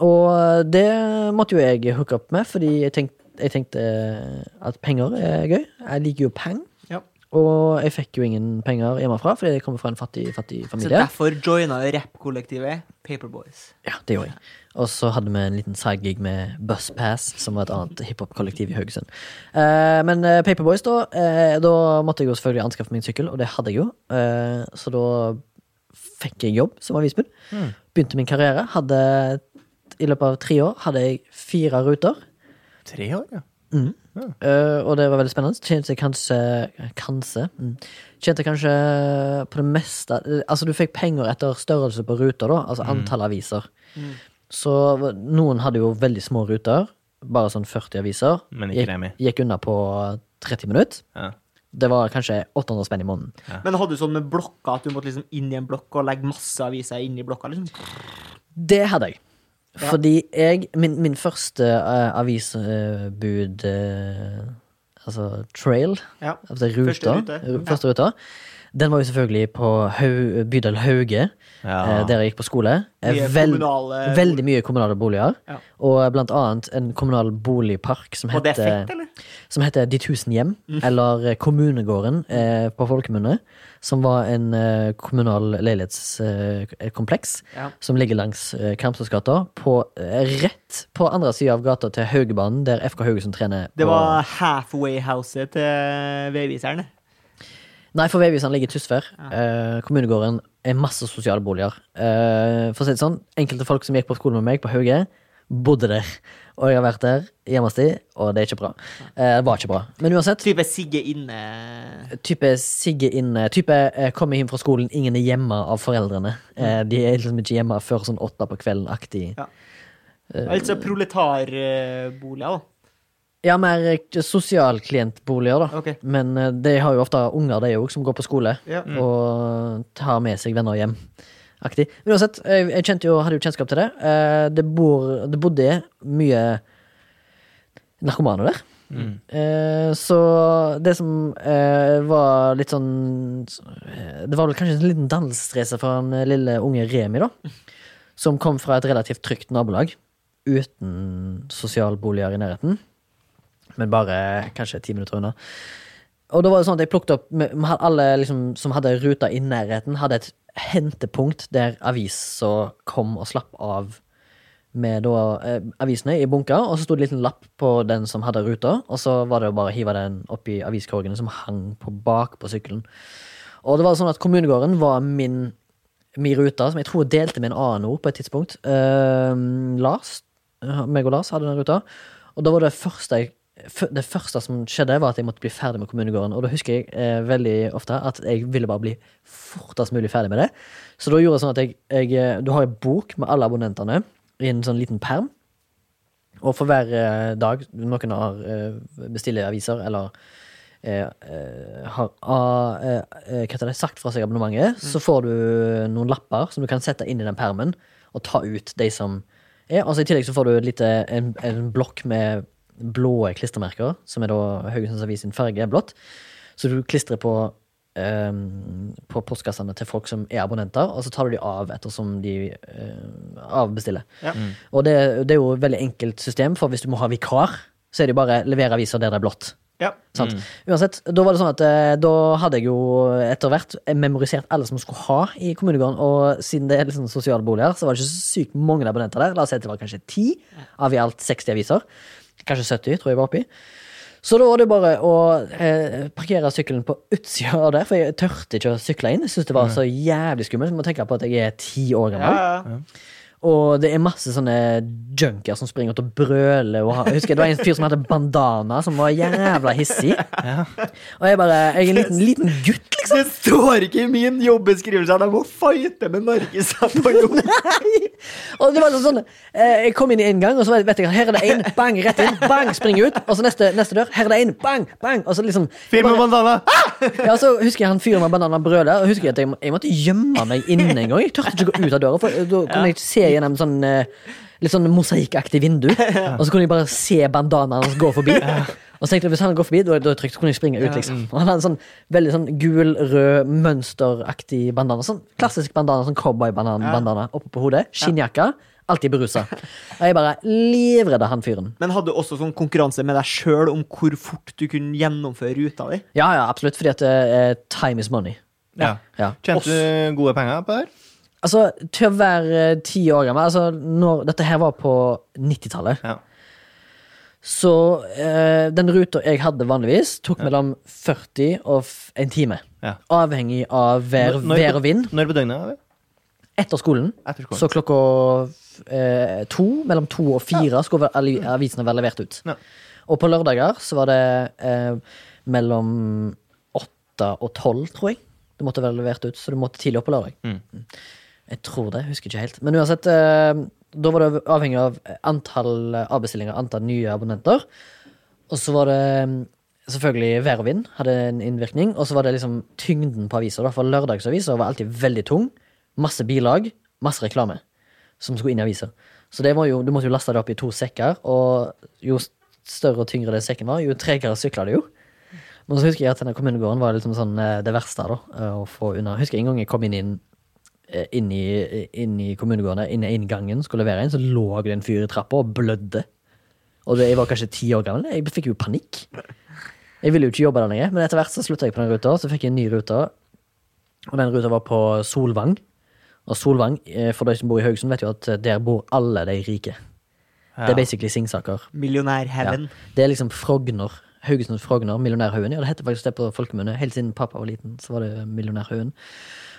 [SPEAKER 2] Og eh, det måtte jo jeg hooke opp med, fordi jeg tenkte, jeg tenkte eh, at penger er gøy. Jeg liker jo peng.
[SPEAKER 1] Ja.
[SPEAKER 2] Og jeg fikk jo ingen penger hjemmefra, fordi jeg kommer fra en fattig, fattig
[SPEAKER 1] Så
[SPEAKER 2] familie.
[SPEAKER 1] derfor joina jo rappkollektivet Paperboys.
[SPEAKER 2] Ja, det gjorde jeg. Og så hadde vi en liten sidegig med Buzzpass, som var et annet hiphop-kollektiv i Haugesund. Eh, men eh, Paperboys, da eh, Da måtte jeg jo selvfølgelig anskaffe meg en sykkel, og det hadde jeg jo. Eh, så da fikk jeg jobb som avisbud. Begynte min karriere. Hadde I løpet av tre år hadde jeg fire ruter.
[SPEAKER 3] Tre år, ja.
[SPEAKER 2] Eh, og det var veldig spennende. Tjente kanskje Kanskje? Mm. Tjente kanskje på det meste eh, Altså, du fikk penger etter størrelse på ruter, da.
[SPEAKER 3] Mm.
[SPEAKER 2] Altså antall aviser. Så v- noen hadde jo veldig små ruter. Bare sånn 40 aviser.
[SPEAKER 3] Men
[SPEAKER 2] Gikk-
[SPEAKER 3] ikke Remi.
[SPEAKER 2] Gikk unna på 30 minutter.
[SPEAKER 3] Ja.
[SPEAKER 2] Det var kanskje 800 spenn i måneden.
[SPEAKER 1] Men hadde du sånn med blokka at du måtte liksom inn i en blokk og legge masse aviser inn i blokka? liksom?
[SPEAKER 2] Det hadde jeg. Fordi jeg Min, min første eh, avisbud eh, Altså trail.
[SPEAKER 1] Ja.
[SPEAKER 2] Altså ruta,
[SPEAKER 1] Første
[SPEAKER 2] første
[SPEAKER 1] rute,
[SPEAKER 2] ruta.
[SPEAKER 1] ja.
[SPEAKER 2] Den var jo selvfølgelig på Hau, bydel Hauge,
[SPEAKER 3] Ja.
[SPEAKER 2] eh, der jeg gikk på skole. Eh,
[SPEAKER 1] Mye
[SPEAKER 2] vel-
[SPEAKER 1] kommunale-
[SPEAKER 2] veldig mye kommunale boliger.
[SPEAKER 1] Ja.
[SPEAKER 2] Og eh, blant annet en kommunal boligpark som
[SPEAKER 1] Og det er
[SPEAKER 2] heter,
[SPEAKER 1] fett, Mm. eller?
[SPEAKER 2] som heter De tusen hjem, eller eh, Kommunegården eh, på folkemunne. Som var en eh, kommunal leilighetskompleks eh,
[SPEAKER 1] Ja.
[SPEAKER 2] som ligger langs eh, Karmsøysgata. på, eh, Rett på andre sida av gata til Haugebanen, der FK Haugesund trener.
[SPEAKER 1] Det
[SPEAKER 2] på-
[SPEAKER 1] var halfway-houset til veiviserne.
[SPEAKER 2] Nei, for Veivisene ligger i Tysvær. Eh, kommunegården er masse sosiale boliger. Eh, for å si det sånn, enkelte folk som gikk på skolen med meg på Hauge, bodde der. Og jeg har vært der i hjemmestid, og det er ikke bra. Eh, det var ikke bra. Men uansett,
[SPEAKER 1] Type Sigge inne
[SPEAKER 2] type Sigge inne, type eh, kommer hjem fra skolen, ingen er hjemme av foreldrene. Eh, de er liksom ikke hjemme før sånn åtte på kvelden-aktig.
[SPEAKER 1] Ja. Altså proletarboliger, da.
[SPEAKER 2] Ja, mer eh, sosialklientboliger, da.
[SPEAKER 1] Ok.
[SPEAKER 2] Men eh, de har jo ofte unger, de òg, som går på skole
[SPEAKER 1] Ja.
[SPEAKER 2] og tar med seg venner hjem. Aktig. Men uansett, jeg, jeg kjente jo, hadde jo kjennskap til det. Eh, Det, bor, det bodde mye narkomane der. Eh, så det som eh, var litt sånn eh, Det var vel kanskje en liten dannelsesreise for han eh, lille unge Remi, da. Som kom fra et relativt trygt nabolag. Uten sosialboliger i nærheten. Men bare kanskje ti minutter unna. Og da var det sånn at jeg plukket opp med- med Alle liksom, som hadde ruta i nærheten, hadde et hentepunkt der avisa kom og slapp av med da, eh, avisene i bunker. Og så sto det en liten lapp på den som hadde ruta, og så var det jo bare å hive den oppi aviskorgene som hang på bak på sykkelen. Og det var sånn at kommunegården var min, min ruta, som jeg tror delte med en annen ord på et tidspunkt. Eh, Lars, eh, meg og Lars hadde den ruta. Og da var det første jeg f- det første som skjedde, var at jeg måtte bli ferdig med kommunegården. Og da husker jeg eh, veldig ofte at jeg ville bare bli fortest mulig ferdig med det. Så da gjorde jeg sånn at jeg, jeg eh, Du har en bok med alle abonnentene i en sånn liten perm. Og for hver eh, dag noen har eh, bestiller aviser eller eh, eh, har ah, eh, eh, hva heter det, sagt fra seg abonnementet, så får du noen lapper som du kan sette inn i den permen og ta ut de som er. Altså, I tillegg så får du et lite, en, en blokk med blå klistremerker, som er da Haugesunds Avis sin farge, er blått. Så du klistrer på ehm, på postkassene til folk som er abonnenter, og så tar du de av ettersom de eh, avbestiller.
[SPEAKER 3] Ja.
[SPEAKER 1] Mm.
[SPEAKER 2] Og det, det er jo et veldig enkelt system, for hvis du må ha vikar, så er det jo bare levere aviser der det er blått.
[SPEAKER 3] Ja.
[SPEAKER 2] Sant? Uansett, da var det sånn at eh, da hadde jeg jo etter hvert memorisert alle som skulle ha i kommunegården, og siden det er liksom sosiale boliger, så var det ikke så sykt mange abonnenter der. La oss si at det var kanskje 10 av i alt 60 aviser. Kanskje 70, tror jeg var oppi. Så da var det bare å eh, parkere sykkelen på utsida av der, for jeg tørte ikke å sykle inn. Jeg syntes det var så jævlig skummelt. Må tenke på at jeg er ti år gammel.
[SPEAKER 1] Ja, ja.
[SPEAKER 2] Og det er masse sånne junkier som springer ut og brøler. Og har, jeg husker Det var en fyr som hadde bandana, som var jævla hissig. Og jeg bare Jeg er en liten, liten gutt, liksom.
[SPEAKER 1] Det står ikke i min jobbeskrivelse at jeg må fighte med narkisabbajon! (laughs)
[SPEAKER 2] Og det var sånn eh, Jeg kom inn i en gang, og så var det- vet jeg at her er det én. Bang, rett inn. Bang, springer ut. Og så neste, neste dør. Her er det én. Bang, bang. Og så liksom
[SPEAKER 3] Film med bandana!
[SPEAKER 2] Ja, så husker jeg han fyren med bananen brølet, og husker jeg at jeg, må- jeg måtte gjemme meg inne en gang. Jeg tørte ikke gå ut av døra, for da kunne jeg se gjennom sånn eh, litt sånn mosaikkaktig vindu. Og så kunne jeg bare se bandanaen hans gå forbi. Og så tenkte jeg, hvis han går forbi, da, da er det trygt, så kunne jeg springe ut, liksom. Og han hadde en sånn veldig sånn gul-rød mønsteraktig bandana. Sånn klassisk bandana, sånn cowboy-bandana oppe på hodet. Skinnjakka. Alltid berusa. Og jeg bare livredda han fyren.
[SPEAKER 1] Men hadde du også sånn konkurranse med deg sjøl om hvor fort du kunne gjennomføre ruta di?
[SPEAKER 2] Ja, ja, absolutt, fordi at eh, time is money.
[SPEAKER 3] Ja.
[SPEAKER 2] Ja.
[SPEAKER 3] Tjente du gode penger på det? her?
[SPEAKER 2] Altså, til å være eh, ti år gammel altså, når, Dette her var på 90-tallet.
[SPEAKER 3] Ja.
[SPEAKER 2] Så eh, den ruta jeg hadde vanligvis, tok mellom 40 og f en time.
[SPEAKER 3] Ja.
[SPEAKER 2] Avhengig av vær,
[SPEAKER 3] Når- når-
[SPEAKER 2] vær og vind.
[SPEAKER 3] Når på døgnet? er det?
[SPEAKER 2] Etter skolen,
[SPEAKER 3] Etter skolen.
[SPEAKER 2] så klokka eh, to, mellom to og fire, skulle vel alle avisene være levert ut.
[SPEAKER 3] Ja.
[SPEAKER 2] Og på lørdager så var det eh, mellom åtte og tolv, tror jeg. Det måtte være levert ut, så du måtte tidlig opp på lørdag.
[SPEAKER 3] Mm.
[SPEAKER 2] Jeg tror det, husker ikke helt. Men uansett, eh, da var det avhengig av eh, antall avbestillinger, antall nye abonnenter. Og så var det mm, selvfølgelig vær og vind hadde en innvirkning. Og så var det liksom tyngden på aviser. da, For lørdagsaviser var alltid veldig tung. Masse bilag, masse reklame som skulle inn i aviser. Så det var jo, du måtte jo laste det opp i to sekker, og jo st- større og tyngre den sekken var, jo tregere sykla det jo. Men så husker jeg at denne kommunegården var liksom sånn eh, det verste da, eh, å få unna. Husker jeg en gang jeg kom inn i en eh, inn i, inn i kommunegården, inn i inngangen, skulle levere inn, så lå det en fyr i trappa og blødde. Og det, jeg var kanskje ti år gammel. Jeg fikk jo panikk. Jeg ville jo ikke jobbe der lenger, men etter hvert så slutta jeg på den ruta, så fikk jeg en ny rute. Og den ruta var på Solvang. Og Solvang, eh, for de som bor i Haugesund, vet jo at eh, der bor alle de rike. Det er basically Singsaker. Ja.
[SPEAKER 1] Millionærheaven.
[SPEAKER 2] Det er liksom Frogner. Haugesund Frogner, Millionærhaugen. Ja, det heter faktisk det på folkemunne. Helt siden pappa var liten, så var det Millionærhaugen.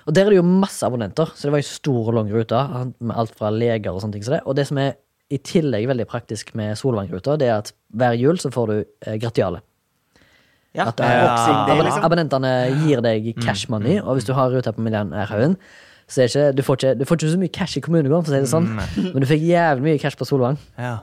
[SPEAKER 2] Og der er det jo masse abonnenter, så det var jo stor og lang rute med alt fra leger og sånne ting som det. Og det som er i tillegg veldig praktisk med Solvang-ruta, det er at hver jul så får du eh, gratiale.
[SPEAKER 1] Ja.
[SPEAKER 2] At,
[SPEAKER 1] Ja.
[SPEAKER 2] eh,
[SPEAKER 1] Boxing Day,
[SPEAKER 2] Abon-
[SPEAKER 1] liksom. Mm.
[SPEAKER 2] Abonnentene gir deg cash money, og hvis du har ruta på Millionærhaugen, så er det ikke, du, får ikke, du får ikke så mye cash i kommunegården, for å si det sånn,
[SPEAKER 1] Mm,
[SPEAKER 2] men du fikk jævlig mye cash på Solvang.
[SPEAKER 3] Ja.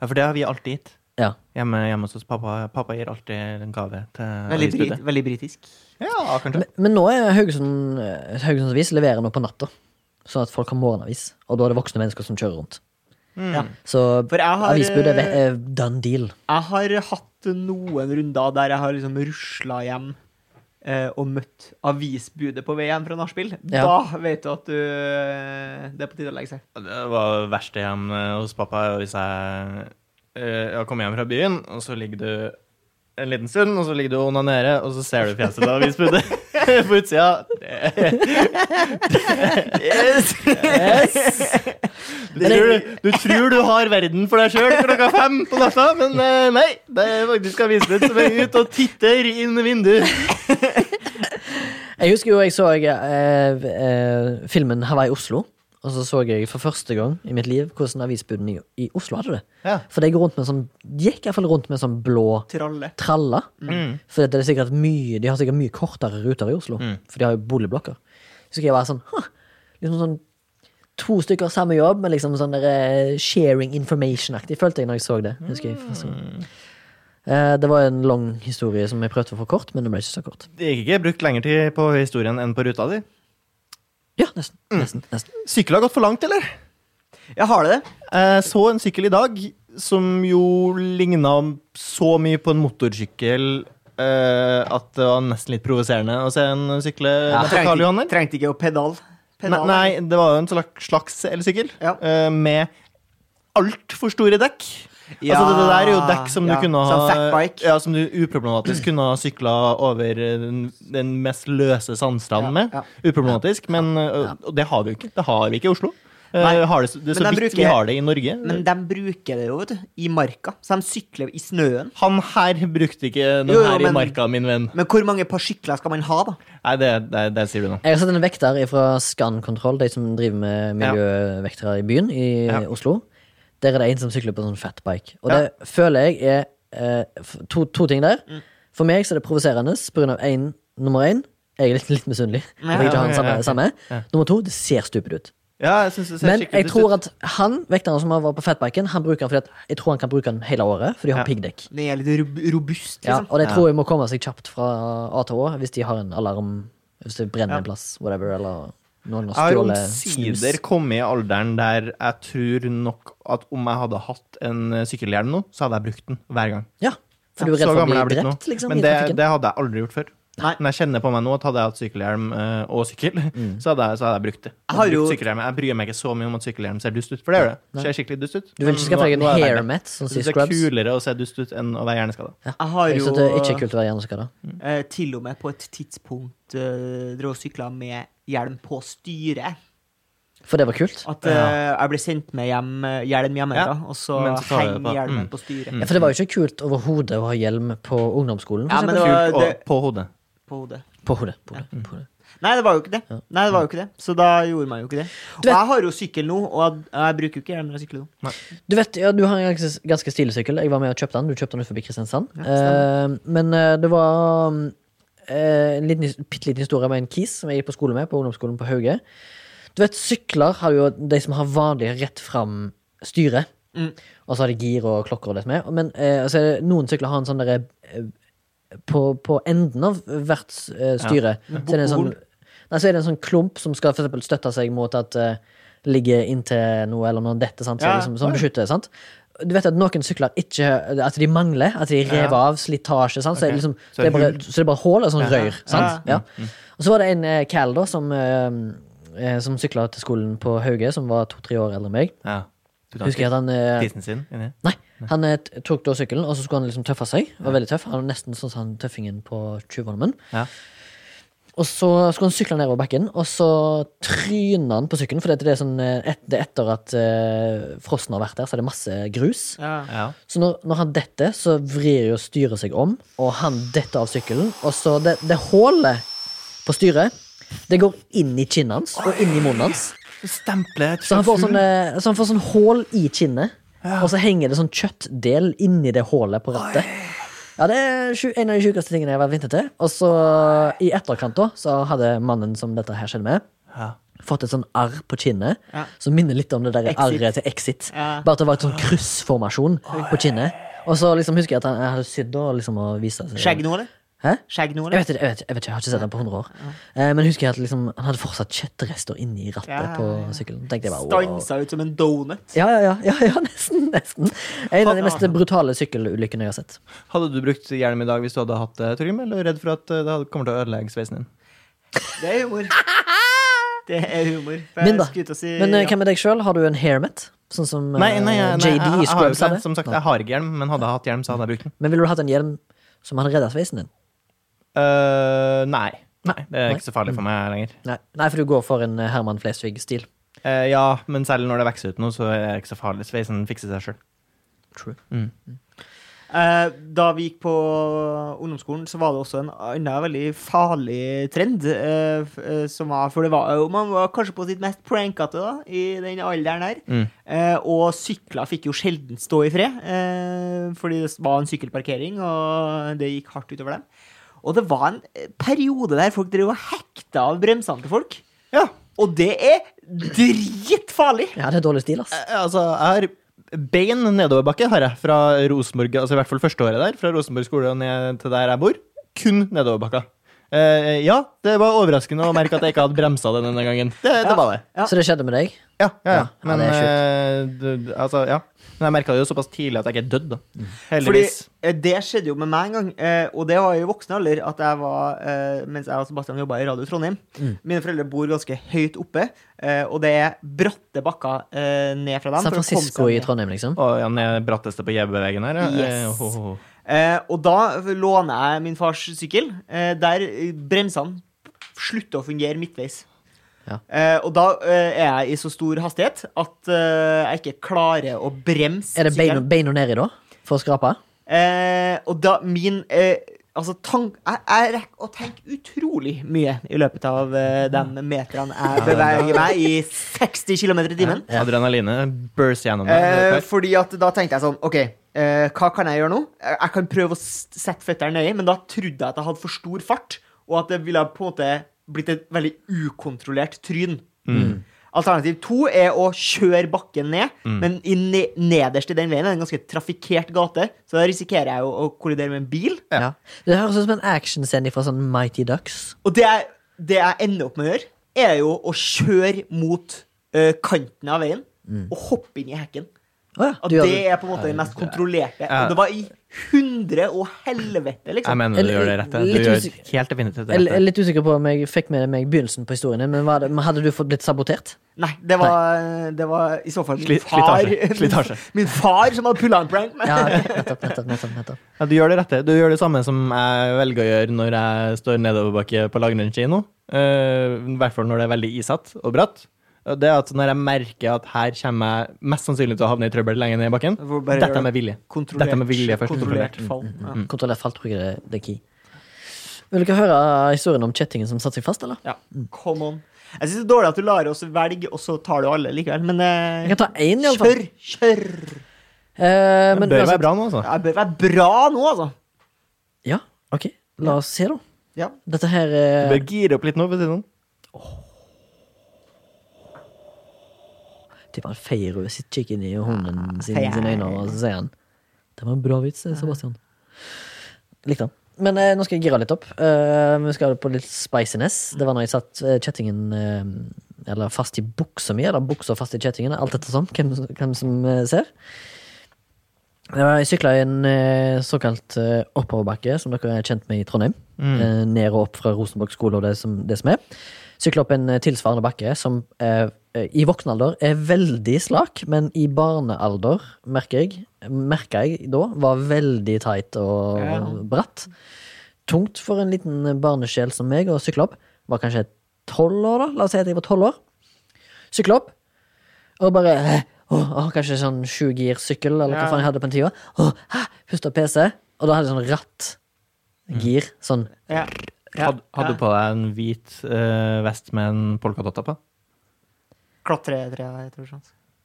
[SPEAKER 3] ja, for det har vi alltid gitt.
[SPEAKER 2] Ja.
[SPEAKER 3] Hjemme, hjemme hos oss. Pappa, pappa gir alltid en gave til
[SPEAKER 1] Veldig, brit,
[SPEAKER 3] avisbudet.
[SPEAKER 1] veldig britisk.
[SPEAKER 3] Ja, kanskje.
[SPEAKER 2] Men, men nå er Haugesund Haugesunds Avis leverer nå på natta, sånn at folk har morgenavis. Og da er det voksne mennesker som kjører rundt.
[SPEAKER 1] Ja.
[SPEAKER 2] Så
[SPEAKER 1] For jeg har,
[SPEAKER 2] avisbudet er
[SPEAKER 1] eh,
[SPEAKER 2] ve- er done deal.
[SPEAKER 1] Jeg har hatt noen runder der jeg har liksom rusla hjem eh, og møtt avisbudet på vei hjem fra nachspiel.
[SPEAKER 2] Ja.
[SPEAKER 1] Da vet du at du Det er på tide å legge seg.
[SPEAKER 3] Det var det verste hjemme hos pappa er jo hvis jeg, eh, jeg kommer hjem fra byen, og så ligger du en liten stund, og så ligger du og onanerer, og så ser du fjeset til avisbudet (laughs) på utsida. Det- Du tror, du tror du har verden for deg sjøl klokka fem på natta, men eh, nei. Det er faktisk avisbud som er ute og titter inn vinduet.
[SPEAKER 2] (laughs) Jeg husker jo jeg så eh, eh, filmen 'Hawaii Oslo'. Og så så jeg for første gang i mitt liv hvordan avisbudene i, i Oslo hadde det.
[SPEAKER 3] Ja.
[SPEAKER 2] For de går rundt med en sånn, de gikk iallfall rundt med en sånn blå
[SPEAKER 1] Tralle.
[SPEAKER 2] tralle. For det er sikkert mye, de har sikkert mye kortere ruter i Oslo, for de har jo boligblokker. Så skulle jeg være sånn, «Hå, liksom sånn to stykker samme jobb, men liksom sånn der, eh, sharing information-aktig, følte jeg når jeg så det. Husker jeg første gang. Eh, Det var en lang historie som jeg prøvde å få kort, men det ble ikke så kort.
[SPEAKER 3] Det gikk ikke brukt lengre tid på historien enn på ruta di.
[SPEAKER 2] Ja, nesten. nesten, nesten.
[SPEAKER 3] Sykkel har gått for langt, eller?
[SPEAKER 1] Jeg har det.
[SPEAKER 3] Jeg så Eh, en sykkel i dag som jo ligna så mye på en motorsykkel eh, at det var nesten litt provoserende å se en sykle
[SPEAKER 1] Ja.
[SPEAKER 3] ned på Karl Johan
[SPEAKER 1] Trengte,
[SPEAKER 3] der.
[SPEAKER 1] trengte ikke å pedal.
[SPEAKER 3] Nei,
[SPEAKER 1] pedal.
[SPEAKER 3] nei, det var jo en slags, slags elsykkel
[SPEAKER 1] Ja.
[SPEAKER 3] eh, med altfor store dekk.
[SPEAKER 1] Ja,
[SPEAKER 3] altså det, det der er jo dekk som
[SPEAKER 1] ja,
[SPEAKER 3] du kunne ha
[SPEAKER 1] sånn fatbike.
[SPEAKER 3] Ja, som du uproblematisk kunne ha sykla over eh, den, den mest løse sandstranden
[SPEAKER 1] Ja,
[SPEAKER 3] med.
[SPEAKER 1] ja.
[SPEAKER 3] Uproblematisk, men eh, og det har vi jo ikke. Det har vi ikke i Oslo. Eh,
[SPEAKER 1] Nei,
[SPEAKER 3] har det, det, er så
[SPEAKER 1] men
[SPEAKER 3] vidt
[SPEAKER 1] de
[SPEAKER 3] vi
[SPEAKER 1] bruker-
[SPEAKER 3] har det i Norge.
[SPEAKER 1] Men de bruker det jo, vet du. I marka. Så de sykler i snøen.
[SPEAKER 3] Han her brukte ikke den
[SPEAKER 1] Jo, jo,
[SPEAKER 3] her i
[SPEAKER 1] men-
[SPEAKER 3] marka, min venn.
[SPEAKER 1] Men hvor mange par sykler skal man ha, da?
[SPEAKER 3] Nei, det, det, det sier du nå.
[SPEAKER 2] Jeg har sett en vekter fra Skankontroll, de som driver med miljøvektere i byen i
[SPEAKER 3] Ja.
[SPEAKER 2] Oslo. Der er det en som sykler på en sånn fatbike. Og
[SPEAKER 3] Ja. Mm.
[SPEAKER 2] det føler jeg er eh, f- to, to ting der. For meg så er det provoserende pga. én nummer én. Jeg er litt, litt misunnelig.
[SPEAKER 1] Ja,
[SPEAKER 2] Jeg vil ikke ha den
[SPEAKER 3] ja,
[SPEAKER 2] samme,
[SPEAKER 3] ja, ja.
[SPEAKER 2] samme. Nummer to, det ser stupid ut.
[SPEAKER 3] Ja, jeg synes det ser
[SPEAKER 2] Men
[SPEAKER 3] skikkelig
[SPEAKER 2] jeg tror at han, vekteren som var på fatbiken, han bruker den fordi at jeg tror han kan bruke den hele året, for de har
[SPEAKER 3] Ja.
[SPEAKER 2] piggdekk.
[SPEAKER 1] Den er litt rob- robust,
[SPEAKER 2] Ja,
[SPEAKER 1] liksom.
[SPEAKER 2] og det
[SPEAKER 3] Ja.
[SPEAKER 2] tror jeg må komme seg kjapt fra A til Å hvis de har en alarm. Hvis det brenner en plass, whatever, eller noen har
[SPEAKER 3] Jeg har
[SPEAKER 2] stjålet snus.
[SPEAKER 3] omsider kommet i alderen der jeg tror nok at om jeg hadde hatt en eh, sykkelhjelm nå, så hadde jeg brukt den hver gang.
[SPEAKER 2] Ja, for du er
[SPEAKER 3] Så
[SPEAKER 2] redd for å
[SPEAKER 3] gammel
[SPEAKER 2] bli
[SPEAKER 3] er jeg blitt
[SPEAKER 2] drept,
[SPEAKER 3] nå.
[SPEAKER 2] liksom,
[SPEAKER 3] Men
[SPEAKER 2] i
[SPEAKER 3] det,
[SPEAKER 2] trafikken.
[SPEAKER 3] det hadde jeg aldri gjort før.
[SPEAKER 1] Nei.
[SPEAKER 3] Men jeg kjenner på meg nå at hadde jeg hatt sykkelhjelm eh, og sykkel,
[SPEAKER 2] Mm.
[SPEAKER 3] (laughs) så, hadde jeg, så hadde jeg brukt det.
[SPEAKER 1] Jeg har
[SPEAKER 3] Brukt
[SPEAKER 1] jo-
[SPEAKER 3] sykkelhjelm. jeg bryr meg ikke så mye om at sykkelhjelm ser dust ut, for det gjør det. det. Ser skikkelig dust ut.
[SPEAKER 2] Du vil
[SPEAKER 3] Men
[SPEAKER 2] ikke skaffe deg
[SPEAKER 3] nå-
[SPEAKER 2] en
[SPEAKER 3] nå er jeg der.
[SPEAKER 2] hairmat som
[SPEAKER 3] Jeg synes
[SPEAKER 2] sier
[SPEAKER 3] det er
[SPEAKER 2] scrubs?
[SPEAKER 3] kulere å se dust ut enn å være hjerneskada.
[SPEAKER 1] Jeg har
[SPEAKER 2] Jeg
[SPEAKER 1] jo
[SPEAKER 2] synes det er ikke kult å være hjerneskada.
[SPEAKER 1] eh, til og med på et tidspunkt uh, drevet og sykla med hjelm på styret.
[SPEAKER 2] For det var kult.
[SPEAKER 3] Mm.
[SPEAKER 1] At eh, jeg ble sendt med hjem, eh, hjelm hjemmefra,
[SPEAKER 3] Ja,
[SPEAKER 1] og så
[SPEAKER 3] men så tar jeg det
[SPEAKER 1] henger
[SPEAKER 3] på.
[SPEAKER 1] hjelmen
[SPEAKER 3] Mm.
[SPEAKER 1] på styret.
[SPEAKER 2] Ja, for det var jo ikke kult overhodet å ha hjelm på ungdomsskolen. for
[SPEAKER 1] Ja, men
[SPEAKER 2] eksempel.
[SPEAKER 1] det var
[SPEAKER 3] Kult og
[SPEAKER 1] det,
[SPEAKER 3] på hodet.
[SPEAKER 1] på hodet.
[SPEAKER 2] På hodet. På hodet, på hodet.
[SPEAKER 1] Nei, det var jo ikke det. Nei, det var jo ikke det. Så da gjorde man jo ikke det. Og
[SPEAKER 2] Du vet-
[SPEAKER 1] jeg har jo sykkel nå, og jeg, jeg bruker jo ikke hjelm når jeg sykler nå.
[SPEAKER 2] Du vet, ja, du har en ganske, ganske stilig sykkel. Jeg var med og kjøpte den. Du kjøpte den ut forbi Kristiansand. eh, men eh, det var mm, eh, en liten, his- bitte liten historie med en kis som jeg gikk på skole med, på ungdomsskolen på Hauge. Du vet, sykler har jo de som har vanlig rett fram styre. Og så har de gir og klokker og det som er. Men eh, så er det, noen sykler har en sånn derre eh, på, på enden av hvert eh, styre så, er det en sånn, nei, så er det en sånn klump som skal for eksempel støtte seg mot at eh, ligge inntil noe eller noe dette, sant? Så,
[SPEAKER 1] Ja,
[SPEAKER 2] liksom, som beskytter. sant? Du vet at noen sykler ikke At de mangler. At de rev
[SPEAKER 3] Ja.
[SPEAKER 2] av slitasje. sant? Så, er det
[SPEAKER 3] Ok.
[SPEAKER 2] liksom,
[SPEAKER 3] Så
[SPEAKER 2] det er bare,
[SPEAKER 3] hull.
[SPEAKER 2] så det er bare hull og sånn
[SPEAKER 3] Ja. Mm.
[SPEAKER 2] rør. sant?
[SPEAKER 1] Ja,
[SPEAKER 2] Ja. Og så var det en eh, Cal da, som, eh, eh, som sykla til skolen på Hauge, som var to-tre år eldre enn meg.
[SPEAKER 3] Ja. Du tar
[SPEAKER 2] Husker jeg at han eh,
[SPEAKER 3] tissen sin inni.
[SPEAKER 2] Nei, han eh, t- tok da sykkelen, og så skulle han liksom tøffe seg. Var veldig tøff, Han var nesten sånn som han tøffingen på Tjuvholmen.
[SPEAKER 3] Ja.
[SPEAKER 2] Og så skulle han sykle nedover bakken, og så tryna han på sykkelen. For det er, sånn, eh, et, det er etter at eh, frosten har vært der, så er det masse grus.
[SPEAKER 3] Ja.
[SPEAKER 2] Så når, når han detter, så vrir jo styret seg om, og han detter av sykkelen. Og så det, det hullet på styret, det går inn i kinnet hans og inn i munnen hans.
[SPEAKER 3] Stemplet
[SPEAKER 2] Så han får sånn, eh, så han får sånn hål i kinnet, og så henger det sånn kjøttdel inni det hålet på rattet. Ja, Det er sju- en av de sjukeste tingene jeg har vært vitne til. Og så i etterkant da, så hadde mannen som dette her skjedde med,
[SPEAKER 3] Ja.
[SPEAKER 2] fått et sånn arr på kinnet
[SPEAKER 1] Ja.
[SPEAKER 2] som minner litt om det der
[SPEAKER 1] Exit.
[SPEAKER 2] arret til Exit.
[SPEAKER 1] Ja.
[SPEAKER 2] Bare at det var et sånn kryssformasjon på kinnet. Og så liksom husker jeg at han jeg hadde sydd og liksom og vist det.
[SPEAKER 1] Skjegg nå, eller?
[SPEAKER 2] Hæ?
[SPEAKER 1] Skjegg nå,
[SPEAKER 2] Jeg
[SPEAKER 1] eller?
[SPEAKER 2] vet, ikke, jeg, vet, ikke, jeg vet ikke, jeg har ikke sett den på 100 år. Eh, men husker jeg at liksom, han hadde fortsatt kjøttrester inni rattet
[SPEAKER 1] Ja, ja,
[SPEAKER 2] på
[SPEAKER 1] ja.
[SPEAKER 2] sykkelen. Tenkte jeg bare, wow.
[SPEAKER 1] Stansa ut som en donut.
[SPEAKER 2] Ja, ja, ja, ja, (laughs) ja, nesten. nesten En av de mest brutale sykkelulykkene jeg har sett.
[SPEAKER 3] Hadde du brukt hjelm i dag hvis du hadde hatt det, Torgrim? Eller er du redd for at eh, det hadde- kommer til å ødelegge sveisen din?
[SPEAKER 1] Det er
[SPEAKER 2] (laughs)
[SPEAKER 1] humor. Det er humor. For jeg
[SPEAKER 2] Min, da.
[SPEAKER 1] skulle ut og si-
[SPEAKER 2] Men eh,
[SPEAKER 1] ja.
[SPEAKER 2] hva med deg sjøl? Har du en hairmet? Sånn som eh,
[SPEAKER 3] Nei, nei, jeg, nei, jeg,
[SPEAKER 2] JD
[SPEAKER 3] jeg,
[SPEAKER 2] i
[SPEAKER 3] har
[SPEAKER 2] Scrubs
[SPEAKER 3] jo ikke
[SPEAKER 2] hadde?
[SPEAKER 3] det. Som sagt,
[SPEAKER 2] Nei.
[SPEAKER 3] jeg har ikke hjelm, men hadde jeg hatt hjelm, så hadde jeg brukt den.
[SPEAKER 2] Men ville du hatt en hjelm som hadde redda sveisen din?
[SPEAKER 3] Eh, nei. nei. Mm. Det er
[SPEAKER 2] Nei.
[SPEAKER 3] ikke så farlig for meg lenger.
[SPEAKER 2] Nei. Nei, for du går for en eh, Herman Flesvig-stil.
[SPEAKER 3] Eh, ja, men selv når det vokser ut nå, så er det ikke så farlig. Sveisen fikser seg sjøl.
[SPEAKER 2] True.
[SPEAKER 1] Eh, Da vi gikk på ungdomsskolen, så var det også en annen veldig farlig trend. eh, f- eh, Som var, for det var jo Man var kanskje på sitt mest prankete da, i den alderen her.
[SPEAKER 3] Mm.
[SPEAKER 1] Eh, Og sykler fikk jo sjelden stå i fred, eh, fordi det var en sykkelparkering, og det gikk hardt utover dem. Og det var en eh, periode der folk drev og hekta av bremsene til folk.
[SPEAKER 3] Ja.
[SPEAKER 1] Og det er dritfarlig!
[SPEAKER 2] Ja, det er dårlig stil, ass.
[SPEAKER 3] Eh, Altså, jeg har bein nedoverbakke har jeg fra Rosenborg, altså i hvert fall første året der, fra Rosenborg skole og ned til der jeg bor. Kun nedoverbakka. Eh, ja, det var overraskende å merke at jeg ikke hadde bremsa det denne gangen. Det, det var det.
[SPEAKER 1] Ja.
[SPEAKER 2] Så det skjedde med deg?
[SPEAKER 3] Ja, ja, ja.
[SPEAKER 2] Ja, ja,
[SPEAKER 3] Men,
[SPEAKER 2] det er
[SPEAKER 3] eh, du- du- altså, ja. Men jeg merka det jo såpass tidlig at jeg ikke er dødd, da.
[SPEAKER 1] Fordi
[SPEAKER 3] Heldigvis.
[SPEAKER 1] eh, det skjedde jo med meg en gang, eh, og det var i voksen alder, at jeg var, eh, mens jeg og Sebastian jobba i Radio Trondheim
[SPEAKER 2] Mm.
[SPEAKER 1] Mine foreldre bor ganske høyt oppe, eh, og det er bratte bakker eh, ned fra dem.
[SPEAKER 2] San
[SPEAKER 1] for å komme
[SPEAKER 2] Francisco
[SPEAKER 1] seg
[SPEAKER 2] i
[SPEAKER 1] ned.
[SPEAKER 2] Trondheim, liksom?
[SPEAKER 3] Å, ja, den er bratteste på Jebbeveggen her. ja.
[SPEAKER 1] Yes.
[SPEAKER 3] Eh, ho, ho, ho.
[SPEAKER 1] Eh, og da låner jeg min fars sykkel, eh, der eh, bremsene slutter å fungere midtveis.
[SPEAKER 2] Ja.
[SPEAKER 1] Eh, og da eh, er jeg i så stor hastighet at eh, jeg ikke klarer å bremse
[SPEAKER 2] Er det beina
[SPEAKER 1] sykkelen.
[SPEAKER 2] beina nedi, da? For å skrape?
[SPEAKER 1] Eh, og da min eh, Altså, tank, jeg, jeg rekker å tenke utrolig mye i løpet av eh, de meterne jeg beveger meg i 60 km i timen.
[SPEAKER 2] Ja.
[SPEAKER 3] Adrenalinet burst gjennom
[SPEAKER 1] Eh,
[SPEAKER 3] deg.
[SPEAKER 1] fordi at da tenkte jeg sånn OK, eh, hva kan jeg gjøre nå? Eh, Jeg kan prøve å s- sette føttene nøye, men da trodde jeg at jeg hadde for stor fart, og at det ville på en måte blitt et veldig ukontrollert tryn. Alternativ to er å kjøre bakken ned, men i ne nederst i den veien er det en ganske trafikkert gate, så da risikerer jeg jo å kollidere med en bil.
[SPEAKER 2] Ja. Det høres ut som en actionscene fra sånn Mighty Ducks.
[SPEAKER 1] Og det jeg, det jeg ender opp med å gjøre, er jo å kjøre mot eh, kanten av veien og hoppe inn i hekken.
[SPEAKER 2] Å ja,
[SPEAKER 1] At
[SPEAKER 2] du gjør
[SPEAKER 1] det
[SPEAKER 2] det.
[SPEAKER 1] er på en måte det mest kontrollerte.
[SPEAKER 3] Ja.
[SPEAKER 1] Og det var i hundre og helvete,
[SPEAKER 3] Jeg
[SPEAKER 1] liksom.
[SPEAKER 3] mener du
[SPEAKER 2] Eller-
[SPEAKER 3] gjør det rette. Du
[SPEAKER 2] litt
[SPEAKER 3] gjør
[SPEAKER 2] usik-
[SPEAKER 3] helt definitivt det
[SPEAKER 2] Jeg jeg
[SPEAKER 3] rette.
[SPEAKER 2] er litt usikker på om jeg fikk med meg begynnelsen på historien, men var det, men hadde du fått blitt sabotert?
[SPEAKER 1] Nei, det var, det var i så fall (laughs) min
[SPEAKER 3] Sli-
[SPEAKER 1] far
[SPEAKER 3] slitasje. Slitasje.
[SPEAKER 1] Min far som hadde pulla en prank. Men.
[SPEAKER 2] Ja,
[SPEAKER 1] (laughs)
[SPEAKER 2] ok, nettopp, nettopp, nettopp, nettopp.
[SPEAKER 3] Ja, du gjør det rette. Du gjør det samme som jeg velger å gjøre når jeg står nedoverbakke på Lagneren kino. Eh, I hvert fall når det er veldig isete og bratt. Og Det er at Når jeg merker at her kommer jeg mest sannsynlig til å havne i trøbbel lenger ned i bakken,
[SPEAKER 1] Hvor bare gjør
[SPEAKER 3] dette
[SPEAKER 1] det.
[SPEAKER 3] er med vilje.
[SPEAKER 1] Kontrollert,
[SPEAKER 3] Dette med vilje først. Mm,
[SPEAKER 1] kontrollert fall. Ja.
[SPEAKER 2] Kontrollert falt, tror jeg det, det er key. Vil dere høre historien om kjettingen som satte seg fast, eller?
[SPEAKER 1] Ja. Come on. Jeg syns det er dårlig at du lar oss velge, og så tar du alle likevel. Men
[SPEAKER 2] Jeg
[SPEAKER 1] eh,
[SPEAKER 2] kan ta én, iallfall.
[SPEAKER 1] kjør, kjør!
[SPEAKER 2] Eh, men
[SPEAKER 3] Det bør
[SPEAKER 2] uansett-
[SPEAKER 3] være bra nå, altså.
[SPEAKER 1] Jeg bør være bra nå, altså.
[SPEAKER 2] Ja, ok. La oss se, da.
[SPEAKER 1] Ja.
[SPEAKER 2] Dette her
[SPEAKER 3] Du
[SPEAKER 2] eh,
[SPEAKER 3] bør gire opp litt nå. for å si det sånn.
[SPEAKER 2] Tipper han feirer og sitter kikker inn i hunden sin,
[SPEAKER 1] Feier.
[SPEAKER 2] sine øyne, og så sier han Det var en bra vits, eh, Sebastian. Likte han. Men eh, nå skal jeg gire litt opp. Eh, vi skal på litt spiciness. Det var når jeg satt eh, kjettingen eh, eller fast i buksa mi, eller buksa fast i kjettingen, alt etter som, hvem, hvem som eh, ser. Det var- Jeg sykla i en eh, såkalt eh, oppoverbakke, som dere er kjent med i Trondheim. Eh, ned og opp fra Rosenborg skole og det som, det som er. Sykla opp en eh, tilsvarende bakke som eh, eh, i voksen alder er veldig slak, men i barnealder, merker jeg, merka jeg da, var veldig tight og
[SPEAKER 1] Ja.
[SPEAKER 2] bratt. Tungt for en liten barnesjel som meg å sykle opp. Var kanskje tolv år, da. La oss si at jeg var tolv år. Sykle opp. Og bare eh, åh, åh, Kanskje sånn sjugirsykkel, eller
[SPEAKER 1] Ja.
[SPEAKER 2] hva faen jeg hadde på den tida. Åh, hæ, Pusta PC. Og da hadde jeg sånn ratt.
[SPEAKER 1] Mm.
[SPEAKER 2] Gir. Sånn.
[SPEAKER 1] Ja. Ja.
[SPEAKER 3] Had, hadde du på deg en hvit eh, vest med en polkadotter på?
[SPEAKER 1] Klatretre, jeg tror sånn.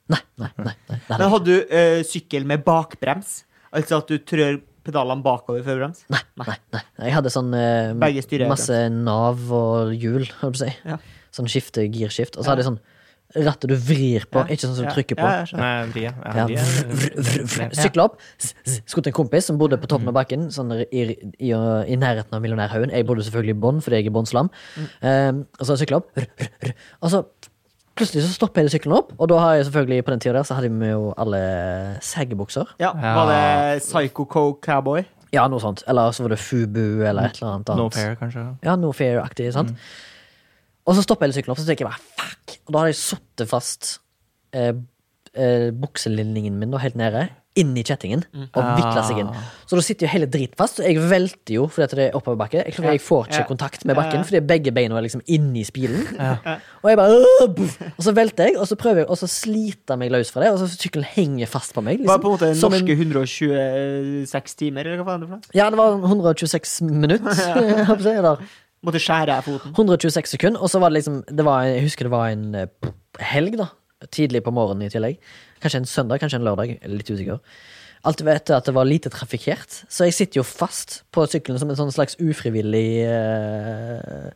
[SPEAKER 2] Nei, nei, nei. nei, nei,
[SPEAKER 1] Men hadde du eh, sykkel med bakbrems? Altså at du trør pedalene bakover før brems?
[SPEAKER 2] nei, nei, nei. Jeg hadde sånn eh,
[SPEAKER 1] Begge styrer, altså.
[SPEAKER 2] masse nav og hjul, holdt jeg på
[SPEAKER 1] Ja.
[SPEAKER 2] å si. Sånn skifte, girskift. Og så hadde jeg sånn rattet du vrir på,
[SPEAKER 1] Ja.
[SPEAKER 2] ikke sånn som
[SPEAKER 1] Ja.
[SPEAKER 2] du trykker på.
[SPEAKER 1] Ja, jeg skjønner.
[SPEAKER 3] Nei, vrie. Ja,
[SPEAKER 2] Ja,
[SPEAKER 3] vrie.
[SPEAKER 2] vr, vr, vr, vr. Sykla opp, s- s- skulle til en kompis som bodde på toppen av bakken, sånn i, i, i, i nærheten av Millionærhaugen. Jeg bodde selvfølgelig i Bonn, fordi jeg er Bonn-slam. Um, og så sykla opp, vr, vr, vr. og så plutselig så stopper hele sykkelen opp. Og da har jeg selvfølgelig, på den tida der, så hadde vi jo alle saggebukser.
[SPEAKER 1] Ja, Var det Psycho Coke Cowboy?
[SPEAKER 2] Ja, noe sånt. Eller så var det Fubu, eller et eller annet.
[SPEAKER 3] No
[SPEAKER 2] annet.
[SPEAKER 3] pair, kanskje?
[SPEAKER 2] Ja, no fair-aktig, sant? Og så stopper hele sykkelen opp, så tenker jeg bare fuck! Og da hadde jeg sittet fast eh, eh, bukselinningen min da, helt nede, inn i kjettingen, og vikla seg inn.
[SPEAKER 1] Ah.
[SPEAKER 2] Så da sitter jo hele dritfast, og jeg velter jo fordi at det er oppoverbakke. Jeg, tror jeg får ikke
[SPEAKER 1] Ja.
[SPEAKER 2] kontakt med bakken,
[SPEAKER 1] Ja.
[SPEAKER 2] fordi begge beina er liksom inni spilen. Og jeg bare øh, buff! Og så velter jeg, og så prøver jeg, og så sliter jeg meg løs fra det, og så sykkelen henger fast på meg. liksom,
[SPEAKER 1] Var det på en måte
[SPEAKER 2] Som
[SPEAKER 1] norske 126 timer, eller hva faen det var?
[SPEAKER 2] Ja, det var 126
[SPEAKER 1] (laughs)
[SPEAKER 2] minutter. (laughs) eller
[SPEAKER 1] Måtte skjære jeg foten.
[SPEAKER 2] 126 sekunder, og så var det liksom det var, Jeg husker det var en eh, helg, da. Tidlig på morgenen i tillegg. Kanskje en søndag, kanskje en lørdag. Litt usikker. Alt var etter at det var lite trafikkert, så jeg sitter jo fast på sykkelen som en sånn slags ufrivillig eh,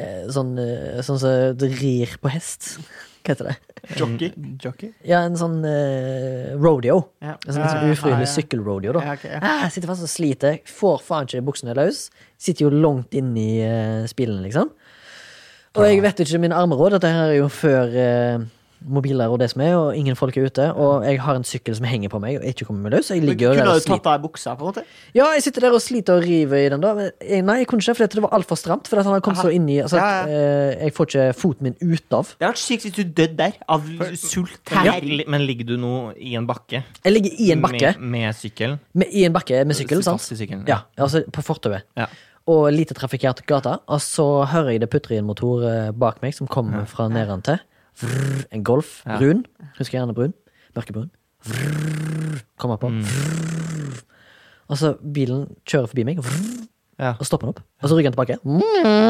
[SPEAKER 2] eh, sånn eh, Sånn som det rir på hest. Hva heter det?
[SPEAKER 4] Jockey.
[SPEAKER 1] Jockey?
[SPEAKER 2] Ja, en sånn eh, rodeo.
[SPEAKER 1] Ah, Ja.
[SPEAKER 2] En sånn, litt sånn ufrivillig sykkelrodeo, da.
[SPEAKER 4] Ja, ok, ja.
[SPEAKER 2] Ah, jeg sitter fast og sliter. Får faen ikke buksene løs. Sitter jo langt inni uh, spilen, liksom. Og
[SPEAKER 1] Ah.
[SPEAKER 2] jeg vet jo ikke mine armeråd. Dette her er jo før eh, mobiler og det som er, og ingen folk er ute. Og jeg har en sykkel som henger på meg, og jeg ikke kommer meg løs. og Jeg
[SPEAKER 1] Men
[SPEAKER 2] ligger jo
[SPEAKER 1] Kunne
[SPEAKER 2] der og
[SPEAKER 1] du tatt
[SPEAKER 2] sliter.
[SPEAKER 1] av deg buksa, på en måte?
[SPEAKER 2] Ja, jeg sitter der og sliter og river i den, da. Men jeg, nei, jeg kunne ikke, for det var altfor stramt. For at han har kommet
[SPEAKER 1] Aha.
[SPEAKER 2] så inni altså,
[SPEAKER 1] Ja, ja.
[SPEAKER 2] eh, Jeg får ikke foten min ut av.
[SPEAKER 1] Det hadde vært sykt hvis du døde der, av sult.
[SPEAKER 2] Ja.
[SPEAKER 1] Herlig.
[SPEAKER 3] Men ligger du nå i en bakke?
[SPEAKER 2] Jeg ligger i en bakke
[SPEAKER 3] Med, med sykkel?
[SPEAKER 2] med, i en bakke med sykkel, sant?
[SPEAKER 3] Fast i sykkelen?
[SPEAKER 2] Ja, altså på fortauet.
[SPEAKER 3] Ja.
[SPEAKER 2] Og lite trafikkert gata. Og så hører jeg det putre i en motor eh, bak meg som kommer fra nedantil. Vrrr, En Golf.
[SPEAKER 3] Ja.
[SPEAKER 2] Brun. Husker gjerne brun. Mørkebrun. Vrrr, Kommer
[SPEAKER 3] Mm.
[SPEAKER 2] på. Vrrr. Og så bilen kjører forbi meg, vrrr,
[SPEAKER 3] Ja.
[SPEAKER 2] og stopper den opp. Og så rygger den tilbake. Mm.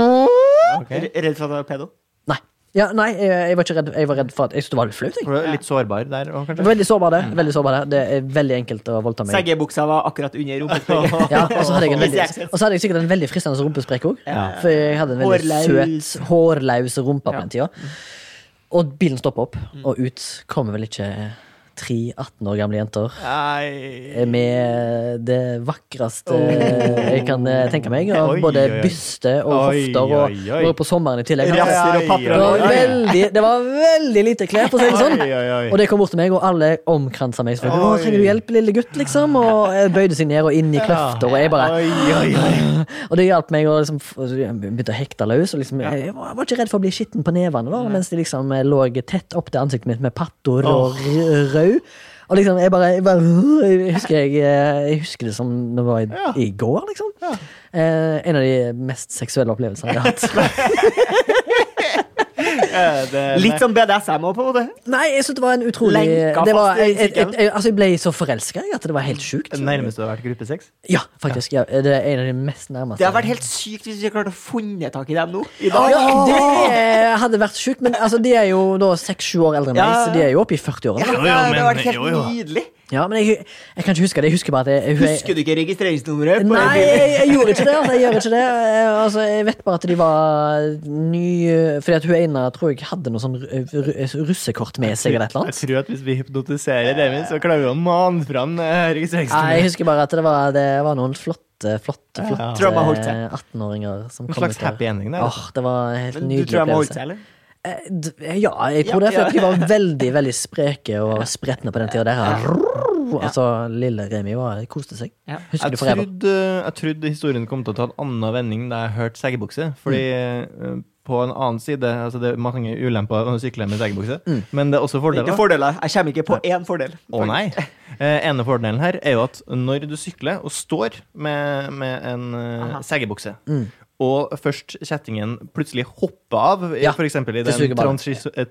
[SPEAKER 3] ok.
[SPEAKER 1] Er du Redd for at jeg var pedo?
[SPEAKER 2] Nei. Ja, nei, jeg, jeg var ikke redd. Jeg var redd for at Jeg syntes det var litt flaut. jeg.
[SPEAKER 3] For du er litt sårbar der òg,
[SPEAKER 2] Jeg
[SPEAKER 3] kanskje?
[SPEAKER 2] var Veldig sårbar, det.
[SPEAKER 3] Mm.
[SPEAKER 2] Veldig sårbar, det. det er veldig enkelt å voldta meg.
[SPEAKER 1] Seggebuksa var akkurat
[SPEAKER 2] (laughs)
[SPEAKER 1] under rumpespillet.
[SPEAKER 2] Ja, og så hadde jeg,
[SPEAKER 3] (laughs)
[SPEAKER 2] en veldig,
[SPEAKER 1] Easy access.
[SPEAKER 2] og så hadde jeg sikkert en veldig fristende rumpesprekk òg. For jeg hadde en veldig
[SPEAKER 1] Hårlaus.
[SPEAKER 2] søt, hårlaus rumpe på den tida. Og bilen stopper opp,
[SPEAKER 3] Mm.
[SPEAKER 2] og ut kommer vel ikke tre 18 år gamle jenter
[SPEAKER 1] Nei
[SPEAKER 2] med det vakreste jeg kan eh, tenke meg. Av
[SPEAKER 3] Oi,
[SPEAKER 2] både
[SPEAKER 3] oi, oi.
[SPEAKER 2] byste og
[SPEAKER 3] Oi,
[SPEAKER 2] hofter, og
[SPEAKER 3] oi, oi.
[SPEAKER 2] det var på sommeren i tillegg.
[SPEAKER 3] Ja, ja,
[SPEAKER 1] Rasser og
[SPEAKER 2] Det
[SPEAKER 1] papper
[SPEAKER 2] var
[SPEAKER 1] og
[SPEAKER 3] ja, ja.
[SPEAKER 2] veldig, det var veldig lite klær, for å si det sånn.
[SPEAKER 3] Oi, oi, oi.
[SPEAKER 2] Og det kom bort til meg, og alle omkransa meg. selvfølgelig. Å,
[SPEAKER 3] Oi.
[SPEAKER 2] trenger du hjelp, lille gutt, liksom? Og jeg bøyde seg ned og inn i kløfter, og jeg bare
[SPEAKER 3] Oi, oi, oi.
[SPEAKER 2] og det hjalp meg å liksom, f- jeg begynte å hekte løs. Og liksom, jeg, var- jeg var ikke redd for å bli skitten på nevene, da, mens de liksom eh, lå tett opp til ansiktet mitt med pattor og r- rød. Og liksom, jeg bare, jeg, bare jeg, husker jeg, eh, jeg husker det som det var i, i går, liksom. Eh, en av de mest seksuelle opplevelsene jeg har
[SPEAKER 1] (laughs)
[SPEAKER 2] hatt.
[SPEAKER 1] Litt sånn BDSM òg, på en måte.
[SPEAKER 2] Nei, jeg synes det var en utrolig
[SPEAKER 1] Lenka
[SPEAKER 2] det var,
[SPEAKER 1] fast i
[SPEAKER 2] jeg, jeg, jeg,
[SPEAKER 1] sykkelen.
[SPEAKER 2] jeg, altså, jeg ble så forelska at det var helt sjukt.
[SPEAKER 3] Det nærmeste du har vært gruppesex?
[SPEAKER 2] Ja, faktisk. Ja, det er en av de mest nærmeste.
[SPEAKER 1] Det hadde vært helt sykt hvis vi klarte å funnet tak i dem nå. I dag.
[SPEAKER 2] Ja, det er- hadde vært sjukt, men altså, de er jo da seks-sju år eldre enn meg,
[SPEAKER 1] Ja, ja.
[SPEAKER 2] så de er jo oppe i 40-årene.
[SPEAKER 1] Ja,
[SPEAKER 3] Jo, jo,
[SPEAKER 1] det hadde
[SPEAKER 3] men-
[SPEAKER 1] vært helt
[SPEAKER 3] jo, jo.
[SPEAKER 1] nydelig.
[SPEAKER 2] Ja, men jeg, jeg kan ikke huske det. Jeg husker bare at jeg, jeg,
[SPEAKER 1] Husker du ikke registreringsnummeret? på
[SPEAKER 2] Nei,
[SPEAKER 1] bilen?
[SPEAKER 2] jeg, jeg gjorde ikke det. Altså, jeg gjør ikke det. Jeg, altså, jeg vet bare at de var ny Fordi at hun ene tror jeg hadde noe sånn ru- ru- russekort med seg eller et eller
[SPEAKER 3] Jeg
[SPEAKER 2] annet.
[SPEAKER 3] tror at hvis vi hypnotiserer Even, så klarer vi å mane fram eh,
[SPEAKER 2] Nei,
[SPEAKER 3] registreringsnummeret.
[SPEAKER 2] jeg husker bare at det var, det var noen flotte, flotte, flotte
[SPEAKER 1] Tror jeg bare holdt seg.
[SPEAKER 2] 18-åringer som
[SPEAKER 3] En
[SPEAKER 2] kom
[SPEAKER 3] slags
[SPEAKER 2] ut der.
[SPEAKER 3] happy ending der.
[SPEAKER 2] Åh, det var en helt
[SPEAKER 1] Men du
[SPEAKER 2] nydelig
[SPEAKER 1] tror jeg må
[SPEAKER 2] opplevelse.
[SPEAKER 1] holde seg, eller?
[SPEAKER 2] Eh, d- Ja, jeg tror det.
[SPEAKER 1] Ja,
[SPEAKER 2] For
[SPEAKER 1] ja.
[SPEAKER 2] at de var veldig veldig spreke og spretne på den tida der. Altså, lille Remi var, koste seg.
[SPEAKER 1] Ja.
[SPEAKER 2] Husker
[SPEAKER 3] Jeg
[SPEAKER 2] du for evig.
[SPEAKER 3] trodde, jeg trodde historien kom til å ta en annen vending da jeg hørte seggebukse. Fordi
[SPEAKER 2] Mm.
[SPEAKER 3] eh, på en annen side altså Det er mange ulemper å sykle med seggebukse,
[SPEAKER 2] Mm.
[SPEAKER 3] men det er også
[SPEAKER 1] Det er
[SPEAKER 3] fordeler.
[SPEAKER 1] ikke fordeler. Jeg kommer ikke på én fordel.
[SPEAKER 3] Å nei.
[SPEAKER 2] (laughs)
[SPEAKER 3] Eh, ene fordelen her er jo at når du sykler og står med, med en eh,
[SPEAKER 1] Aha.
[SPEAKER 3] seggebukse,
[SPEAKER 2] Mm.
[SPEAKER 3] og først kjettingen plutselig hopper av,
[SPEAKER 2] Ja,
[SPEAKER 3] ja, f.eks. i
[SPEAKER 2] det suger
[SPEAKER 3] den
[SPEAKER 2] bare.
[SPEAKER 3] transis eh,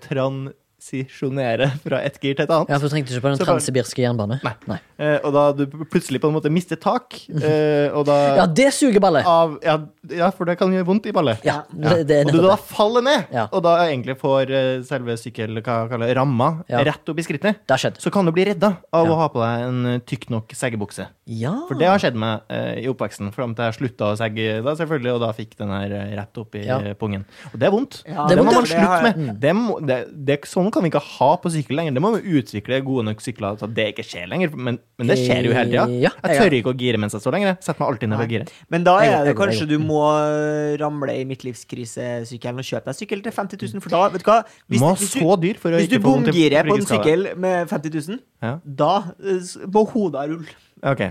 [SPEAKER 3] transisjonere fra et gir til et annet,
[SPEAKER 2] Ja, for du trengte ikke på den
[SPEAKER 3] Så bare-
[SPEAKER 2] transsibirske jernbane.
[SPEAKER 3] Nei.
[SPEAKER 2] Nei.
[SPEAKER 3] eh, og da du plutselig på en måte mister tak, eh, og da
[SPEAKER 2] Mhm. (laughs) Ja, det suger baller!
[SPEAKER 3] av, ja, ja, for det kan gjøre vondt i ballet.
[SPEAKER 2] Ja,
[SPEAKER 3] Ja.
[SPEAKER 2] det, det er
[SPEAKER 3] og du
[SPEAKER 2] nettopp
[SPEAKER 3] da
[SPEAKER 2] det.
[SPEAKER 3] faller ned,
[SPEAKER 2] Ja.
[SPEAKER 3] og da egentlig får eh, selve sykkel, hva kaller jeg, ramma
[SPEAKER 2] Ja.
[SPEAKER 3] rett opp i skrittet,
[SPEAKER 2] Det har skjedd.
[SPEAKER 3] så kan du bli redda av
[SPEAKER 2] Ja.
[SPEAKER 3] å ha på deg en eh, tykk nok seggebukse.
[SPEAKER 2] Ja.
[SPEAKER 3] For det har skjedd meg eh, i oppveksten, fram til jeg slutta å segge da, selvfølgelig, og da fikk den her eh, rett opp i
[SPEAKER 2] Ja.
[SPEAKER 3] eh, pungen. Og det er vondt.
[SPEAKER 1] Ja,
[SPEAKER 3] det,
[SPEAKER 2] det er
[SPEAKER 3] må
[SPEAKER 2] vondt,
[SPEAKER 3] man
[SPEAKER 1] ja.
[SPEAKER 3] slutte
[SPEAKER 1] Det
[SPEAKER 3] med. Det må, det, det, sånn kan vi ikke ha på sykkel lenger. Det må vi utvikle gode nok sykler til at det ikke skjer lenger. Men, men det skjer jo hele tida.
[SPEAKER 2] Ja,
[SPEAKER 3] Jeg tør ikke å gire mens jeg står lenger. Jeg setter meg alltid ned og
[SPEAKER 1] Nei.
[SPEAKER 3] girer.
[SPEAKER 1] Men da
[SPEAKER 2] Jeg går,
[SPEAKER 1] er det
[SPEAKER 2] jeg går, jeg
[SPEAKER 1] kanskje du må eh, ramle i midtlivskrisesykkelen og kjøpe deg sykkel til 50 000, for da, vet du hva
[SPEAKER 3] Du må ha så dyr for å
[SPEAKER 1] hvis du
[SPEAKER 3] ikke få vondt i
[SPEAKER 1] bomgirer på en
[SPEAKER 3] ryggskade.
[SPEAKER 1] sykkel med 50 000,
[SPEAKER 3] Ja.
[SPEAKER 1] da eh, s- må hodet rulle,
[SPEAKER 3] Ok,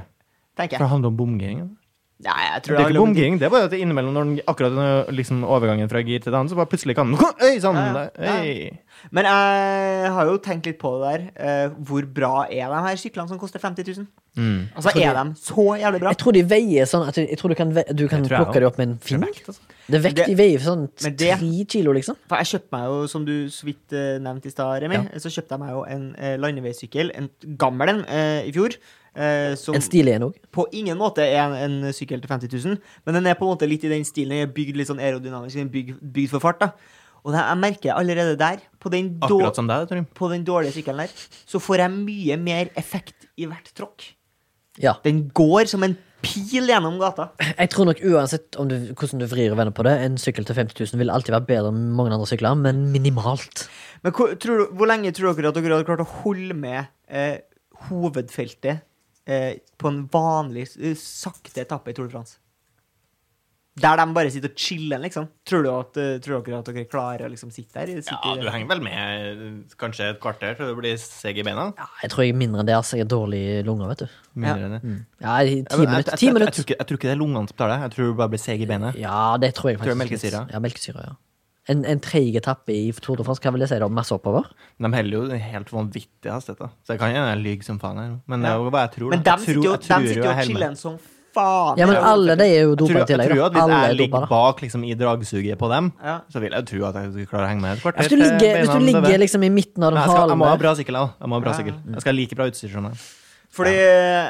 [SPEAKER 1] tenker
[SPEAKER 3] For det
[SPEAKER 1] jeg.
[SPEAKER 3] handler om bomgiring. ja.
[SPEAKER 1] Nei, jeg
[SPEAKER 3] Det
[SPEAKER 1] tror
[SPEAKER 3] er ikke
[SPEAKER 1] handler om-
[SPEAKER 3] bomgiring, det er bare at det innimellom, når den, akkurat når liksom overgangen fra gir til det andre, så bare plutselig kan den Øy, sånn!
[SPEAKER 1] Ja, ja.
[SPEAKER 3] Øy.
[SPEAKER 1] Men jeg har jo tenkt litt på det der. eh, hvor bra er de her syklene som koster 50 000?
[SPEAKER 3] Mm.
[SPEAKER 2] Jeg
[SPEAKER 1] Altså,
[SPEAKER 2] tror
[SPEAKER 1] er de så jævlig bra?
[SPEAKER 2] Jeg tror de veier sånn at du- Jeg tror du kan, ve- du kan
[SPEAKER 3] Jeg tror jeg også.
[SPEAKER 2] plukke dem opp med en finger.
[SPEAKER 3] Vekt, altså.
[SPEAKER 2] Det er vekt,
[SPEAKER 1] Det-
[SPEAKER 2] de veier sånn
[SPEAKER 1] Men det-
[SPEAKER 2] tre kilo, liksom.
[SPEAKER 1] For jeg kjøpte meg jo, som du så vidt eh, nevnte i stad, Remi, så kjøpte jeg meg jo en eh, landeveissykkel, en gammel en, eh, i fjor. eh, som
[SPEAKER 2] En stilig en òg.
[SPEAKER 1] på ingen måte er en, en sykkel til 50 000, men den er på en måte litt i den stilen. Den er bygd litt sånn aerodynamisk, den er bygd, bygd for fart. da. Og det, jeg merker allerede der, på den, då,
[SPEAKER 3] Akkurat sånn. som deg, Trym.
[SPEAKER 1] på den dårlige sykkelen der, så får jeg mye mer effekt i hvert tråkk.
[SPEAKER 2] Ja.
[SPEAKER 1] Den går som en pil gjennom gata.
[SPEAKER 2] Jeg tror nok uansett om du, hvordan du vrir og vender på det, en sykkel til 50 000 vil alltid være bedre enn mange andre sykler, men minimalt.
[SPEAKER 1] Men hvor, tror du, hvor lenge tror dere at dere hadde klart å holde med eh, hovedfeltet eh, på en vanlig, s- eh, sakte etappe i Tour de France? Der de bare sitter og chiller, liksom. Tror, du at, eh, tror dere at dere klarer å liksom sitte der? Sitte
[SPEAKER 3] Ja, du henger vel med eh, kanskje et kvarter til du blir seig i beina?
[SPEAKER 2] Ja, jeg tror jeg er mindre enn det, altså. Jeg er dårlig i lunger, vet du.
[SPEAKER 3] Mindre
[SPEAKER 1] Ja.
[SPEAKER 3] enn det.
[SPEAKER 2] Mm. Ja, i
[SPEAKER 3] Ja,
[SPEAKER 2] ti
[SPEAKER 3] men jeg-
[SPEAKER 2] minutter. Ti
[SPEAKER 3] jeg- jeg- Jeg, tror
[SPEAKER 2] minutter.
[SPEAKER 3] ikke- jeg tror ikke det er lungene som tar deg. Jeg tror du bare blir seig i beinet.
[SPEAKER 2] Ja, det tror jeg
[SPEAKER 3] Tror
[SPEAKER 2] faktisk.
[SPEAKER 3] jeg melkesyre.
[SPEAKER 2] Ja, melkesyre, ja. En, en treig etappe i Tour de France, hva vil jeg si da? Masse oppover?
[SPEAKER 3] De heller jo en helt vanvittig hastighet. da. Så jeg kan gjerne lyge som faen her, men det er jo hva jeg tror. da.
[SPEAKER 1] Men
[SPEAKER 3] Jeg
[SPEAKER 1] de sitter
[SPEAKER 3] tror-
[SPEAKER 1] jo
[SPEAKER 3] jeg tror
[SPEAKER 1] de sitter
[SPEAKER 3] jeg
[SPEAKER 1] jo og
[SPEAKER 3] holder med.
[SPEAKER 1] chiller som faen.
[SPEAKER 2] Ja, men alle de er jo
[SPEAKER 3] Jeg tror,
[SPEAKER 2] dopa i
[SPEAKER 3] jeg
[SPEAKER 2] tillegg.
[SPEAKER 3] tror
[SPEAKER 2] da.
[SPEAKER 3] at Hvis
[SPEAKER 2] Alle er
[SPEAKER 3] jeg
[SPEAKER 2] dopa,
[SPEAKER 3] ligger
[SPEAKER 2] da.
[SPEAKER 3] bak liksom, i dragsuget på dem,
[SPEAKER 1] Ja.
[SPEAKER 3] så vil jeg jo tro at jeg skal klare å henge med et kvarter.
[SPEAKER 2] Hvis du
[SPEAKER 3] til
[SPEAKER 2] ligger, hvis
[SPEAKER 3] eh,
[SPEAKER 2] du
[SPEAKER 3] beina døver.
[SPEAKER 2] ligger liksom i midten av
[SPEAKER 3] Nei,
[SPEAKER 2] den
[SPEAKER 3] jeg, skal, jeg må ha
[SPEAKER 2] halen der
[SPEAKER 3] bra sykkel, jeg også. jeg må ha bra
[SPEAKER 1] Ja.
[SPEAKER 3] sykkel. Jeg skal ha like bra utstyr som deg.
[SPEAKER 1] Fordi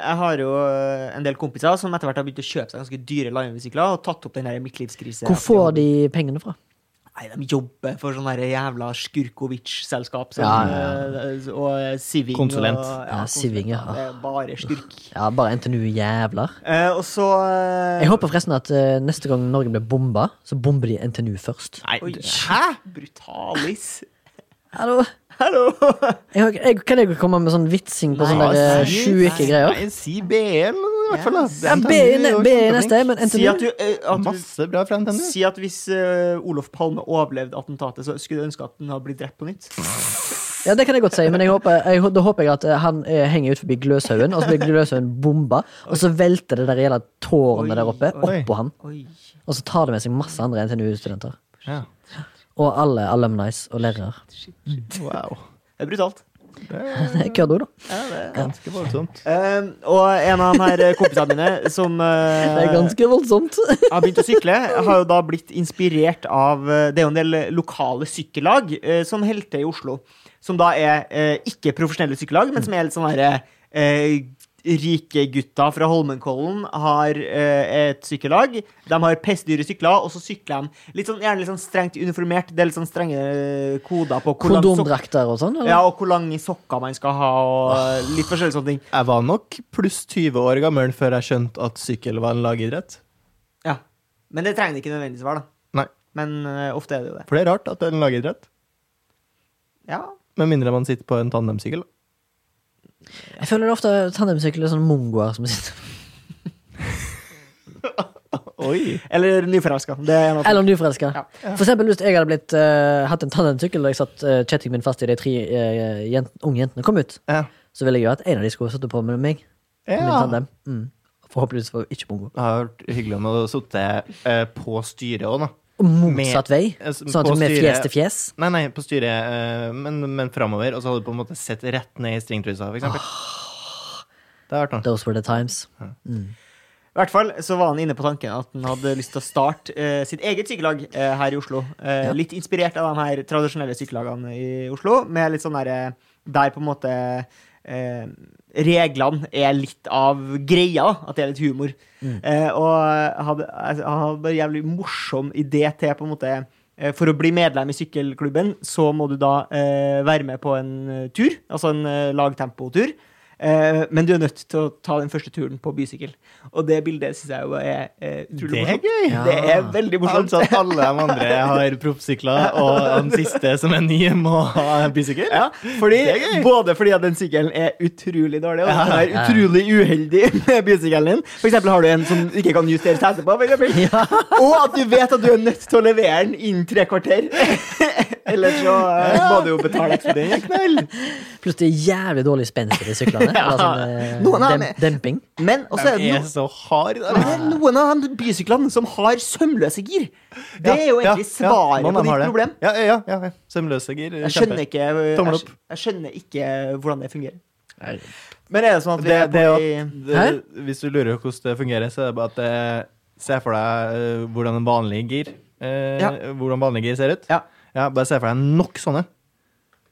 [SPEAKER 1] jeg har jo eh, en del kompiser som etter hvert har begynt å kjøpe seg ganske dyre Lime-sykler og tatt opp den der midtlivskrise.
[SPEAKER 2] Hvor får de pengene fra?
[SPEAKER 1] Nei, de jobber for sånn der jævla Skurkovic-selskap. som,
[SPEAKER 2] Ja, ja,
[SPEAKER 1] eh, Og Siving.
[SPEAKER 3] Konsulent.
[SPEAKER 1] Og,
[SPEAKER 2] Ja, Siving, ja.
[SPEAKER 1] Det er bare skurk.
[SPEAKER 2] Ja, bare NTNU-jævler.
[SPEAKER 1] Eh, og så eh,
[SPEAKER 2] Jeg håper forresten at eh, neste gang Norge blir bomba, så bomber de NTNU først.
[SPEAKER 3] Nei,
[SPEAKER 1] Oi,
[SPEAKER 3] du-
[SPEAKER 1] hæ? Brutalis.
[SPEAKER 2] Hallo?
[SPEAKER 1] (laughs) Hallo!
[SPEAKER 2] Jeg, jeg, kan jeg komme med sånn vitsing på
[SPEAKER 1] Nei,
[SPEAKER 2] sånne
[SPEAKER 3] Ja,
[SPEAKER 2] der,
[SPEAKER 1] si-
[SPEAKER 2] eh, sjuke greier?
[SPEAKER 3] Nei, si BL, i hvert fall. da.
[SPEAKER 2] Ja, B
[SPEAKER 3] Det
[SPEAKER 2] i
[SPEAKER 3] er
[SPEAKER 2] ne-
[SPEAKER 3] jo
[SPEAKER 2] B i
[SPEAKER 3] kjempeflink.
[SPEAKER 2] neste, men NTNU
[SPEAKER 1] Si at du, eh, at du
[SPEAKER 3] Masse bra fra NTNU.
[SPEAKER 1] Si at hvis eh, Olof Palme overlevde attentatet, så skulle du ønske at han hadde blitt drept på nytt.
[SPEAKER 2] Ja, det kan jeg godt si, men jeg håper, jeg, da håper jeg at eh, han eh, henger ut forbi Gløshaugen, og så blir Gløshaugen bomba, og så velter det der jævla tårnet der oppe
[SPEAKER 3] Oi.
[SPEAKER 2] oppå han,
[SPEAKER 1] Oi.
[SPEAKER 2] og så tar det med seg masse andre NTNU-studenter.
[SPEAKER 3] Ja.
[SPEAKER 2] Og alle alumnis og lærere. (laughs)
[SPEAKER 3] Wow.
[SPEAKER 1] Det er brutalt.
[SPEAKER 2] Det er Køddo, da.
[SPEAKER 1] Ja, det er.
[SPEAKER 3] Ganske voldsomt.
[SPEAKER 1] Eh, og en av de her eh, kompisene mine som eh,
[SPEAKER 2] Det er ganske voldsomt.
[SPEAKER 3] Eh,
[SPEAKER 1] har begynt å sykle, har jo da blitt inspirert av eh, Det er jo en del lokale sykkellag eh, som holder til i Oslo. Som da er eh, ikke profesjonelle sykkellag, men som er litt sånn herre eh, Rike gutta fra Holmenkollen har eh, et sykkellag. De har pestdyre sykler, og så sykler de litt sånn, gjerne litt sånn strengt uniformert. Det er litt sånn strenge eh, koder på hvor lang sok-
[SPEAKER 2] Kondomdrakter og sånn. eller?
[SPEAKER 1] ja, og hvor lange sokker man skal ha, og eh, litt forskjellige sånne ting.
[SPEAKER 3] Jeg var nok pluss 20 år gammel før jeg skjønte at sykkel var en lagidrett.
[SPEAKER 1] Ja. Men det trenger det ikke nødvendigvis være, da.
[SPEAKER 3] Nei,
[SPEAKER 1] Men eh, ofte er det jo det.
[SPEAKER 3] for det er rart at det er en lagidrett.
[SPEAKER 1] Ja.
[SPEAKER 3] Med mindre man sitter på en tandemsykkel.
[SPEAKER 2] Jeg føler det ofte tandemsykler er sånn mongoer som sitter
[SPEAKER 3] Oi!
[SPEAKER 1] Eller nyforelska. Det er en av to.
[SPEAKER 2] Eller om du er forelska.
[SPEAKER 1] Ja.
[SPEAKER 2] For eksempel hvis jeg hadde blitt, eh, hatt en tandemsykkel og jeg satt eh, kjettingen min fast i de tre eh, jent, unge jentene kom ut,
[SPEAKER 3] Ja.
[SPEAKER 2] så ville jeg jo at en av de skulle sittet på med meg. på Min
[SPEAKER 3] Ja.
[SPEAKER 2] tandem. Mm. Forhåpentligvis var det ikke mongo.
[SPEAKER 3] Det har vært hyggelig om å sitte eh, på styret òg, da.
[SPEAKER 2] Og Motsatt vei.
[SPEAKER 3] eh, s-
[SPEAKER 2] Sånn at
[SPEAKER 3] på
[SPEAKER 2] vi er
[SPEAKER 3] styret-
[SPEAKER 2] fjes til fjes.
[SPEAKER 3] Nei, nei, på styret, eh, men, men framover. Og så hadde du på en måte sett rett ned i stringtrusa, for eksempel.
[SPEAKER 1] Ah.
[SPEAKER 3] Det har vært noe.
[SPEAKER 2] Those were the times.
[SPEAKER 1] I hvert fall så var han inne på tanken at han hadde lyst til å starte eh, sitt eget sykkellag eh, her i Oslo. Eh, Litt inspirert av de her tradisjonelle sykkellagene i Oslo, med litt sånn derre Der på en måte eh, reglene er litt av greia, da, at det er litt humor. Eh, og hadde, altså, han hadde bare en jævlig morsom idé til på en måte eh, For å bli medlem i sykkelklubben, så må du da eh, være med på en eh, tur, altså en eh, lagtempotur. Eh, men du er nødt til å ta den første turen på bysykkel. Og det bildet syns jeg jo er eh, utrolig
[SPEAKER 3] Det er
[SPEAKER 1] morsomt.
[SPEAKER 3] gøy.
[SPEAKER 1] Det er veldig morsomt.
[SPEAKER 3] Altså at alle de andre har proffsykler, og den siste som er ny, må ha bysykkel?
[SPEAKER 1] Ja, fordi, både fordi at den sykkelen er utrolig dårlig, og at den er utrolig uheldig (laughs) med bysykkelen din. For eksempel har du en som ikke kan justere setet på, for eksempel. (laughs) Og at du vet at du er nødt til å levere den innen tre kvarter. (laughs) Ellers så eh, må du jo betale ekstra. Det er en knall.
[SPEAKER 2] Plutselig jævlig dårlig spenst i de syklene.
[SPEAKER 1] (laughs)
[SPEAKER 2] Eller sånn eh,
[SPEAKER 1] Noen av dem
[SPEAKER 2] dem,
[SPEAKER 1] er-
[SPEAKER 2] demping.
[SPEAKER 1] Men også er
[SPEAKER 3] De
[SPEAKER 1] det
[SPEAKER 3] er
[SPEAKER 1] noe
[SPEAKER 3] så hard altså. de
[SPEAKER 1] Det er
[SPEAKER 3] her.
[SPEAKER 1] noen av de bysyklene som har sømløse gir. Det er jo egentlig svaret
[SPEAKER 3] noen
[SPEAKER 1] på
[SPEAKER 3] har
[SPEAKER 1] ditt
[SPEAKER 3] det.
[SPEAKER 1] problem.
[SPEAKER 3] Ja, ja, ja, ja. Sømløse gir.
[SPEAKER 1] Jeg skjønner, ikke, jeg,
[SPEAKER 3] Tommel opp.
[SPEAKER 1] skj- jeg skjønner ikke hvordan det fungerer. Men er det sånn at vi
[SPEAKER 3] Det,
[SPEAKER 1] er på
[SPEAKER 3] det, er
[SPEAKER 1] i-
[SPEAKER 3] at- det, hvis du lurer på hvordan det fungerer, så er det bare at eh, Se for deg eh, hvordan en vanlig gir eh,
[SPEAKER 1] Ja.
[SPEAKER 3] Hvordan vanlig gir ser ut.
[SPEAKER 1] Ja.
[SPEAKER 3] Bare se for deg nok sånne.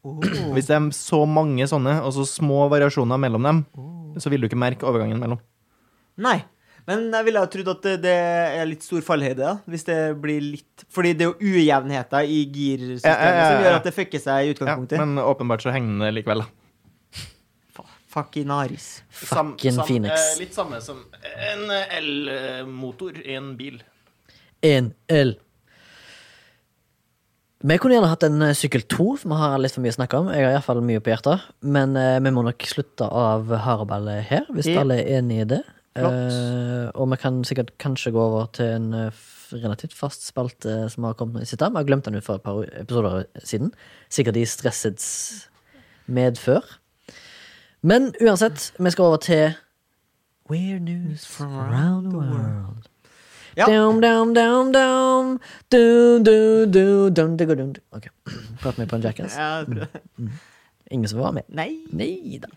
[SPEAKER 1] Åh.
[SPEAKER 3] Hvis det er så mange sånne, og så små variasjoner mellom dem,
[SPEAKER 1] Oh.
[SPEAKER 3] så vil du ikke merke overgangen mellom.
[SPEAKER 1] Nei. Men jeg ville ha trodd at det, det er litt stor fallhøyde, da. Hvis det blir litt Fordi det er jo ujevnheter i girsystemet
[SPEAKER 3] Ja, ja, ja, ja.
[SPEAKER 1] som gjør at det fucker seg i
[SPEAKER 3] Ja,
[SPEAKER 1] utgangspunktet.
[SPEAKER 3] men åpenbart så henger det likevel, da.
[SPEAKER 1] Fuckinaris.
[SPEAKER 2] Fucking Phoenix.
[SPEAKER 5] eh, litt samme som en eh, elmotor i en bil.
[SPEAKER 2] En L. Vi kunne gjerne hatt en eh, sykkel to, for vi har litt for mye å snakke om. Jeg har i hvert fall mye på hjertet. Men eh, vi må nok slutte av hareballet her, hvis
[SPEAKER 1] Ja.
[SPEAKER 2] alle er enig i det.
[SPEAKER 1] Flott.
[SPEAKER 2] Eh, og vi kan sikkert kanskje gå over til en eh, f- relativt fast spalte som har kommet nå i sitt Vi har glemt den ut for et par episoder siden. Sikkert i stressets medfør. Men uansett, vi skal over til Weird news from around the world.
[SPEAKER 1] Ja.
[SPEAKER 2] Dum, dum, dum, dum. Dum, dum, dum, dum, digga, dum. Ok. (clears throat) Prat med på en jackass.
[SPEAKER 1] Ja, jeg tror det.
[SPEAKER 2] Ingen som var med?
[SPEAKER 1] Nei.
[SPEAKER 2] Nei da.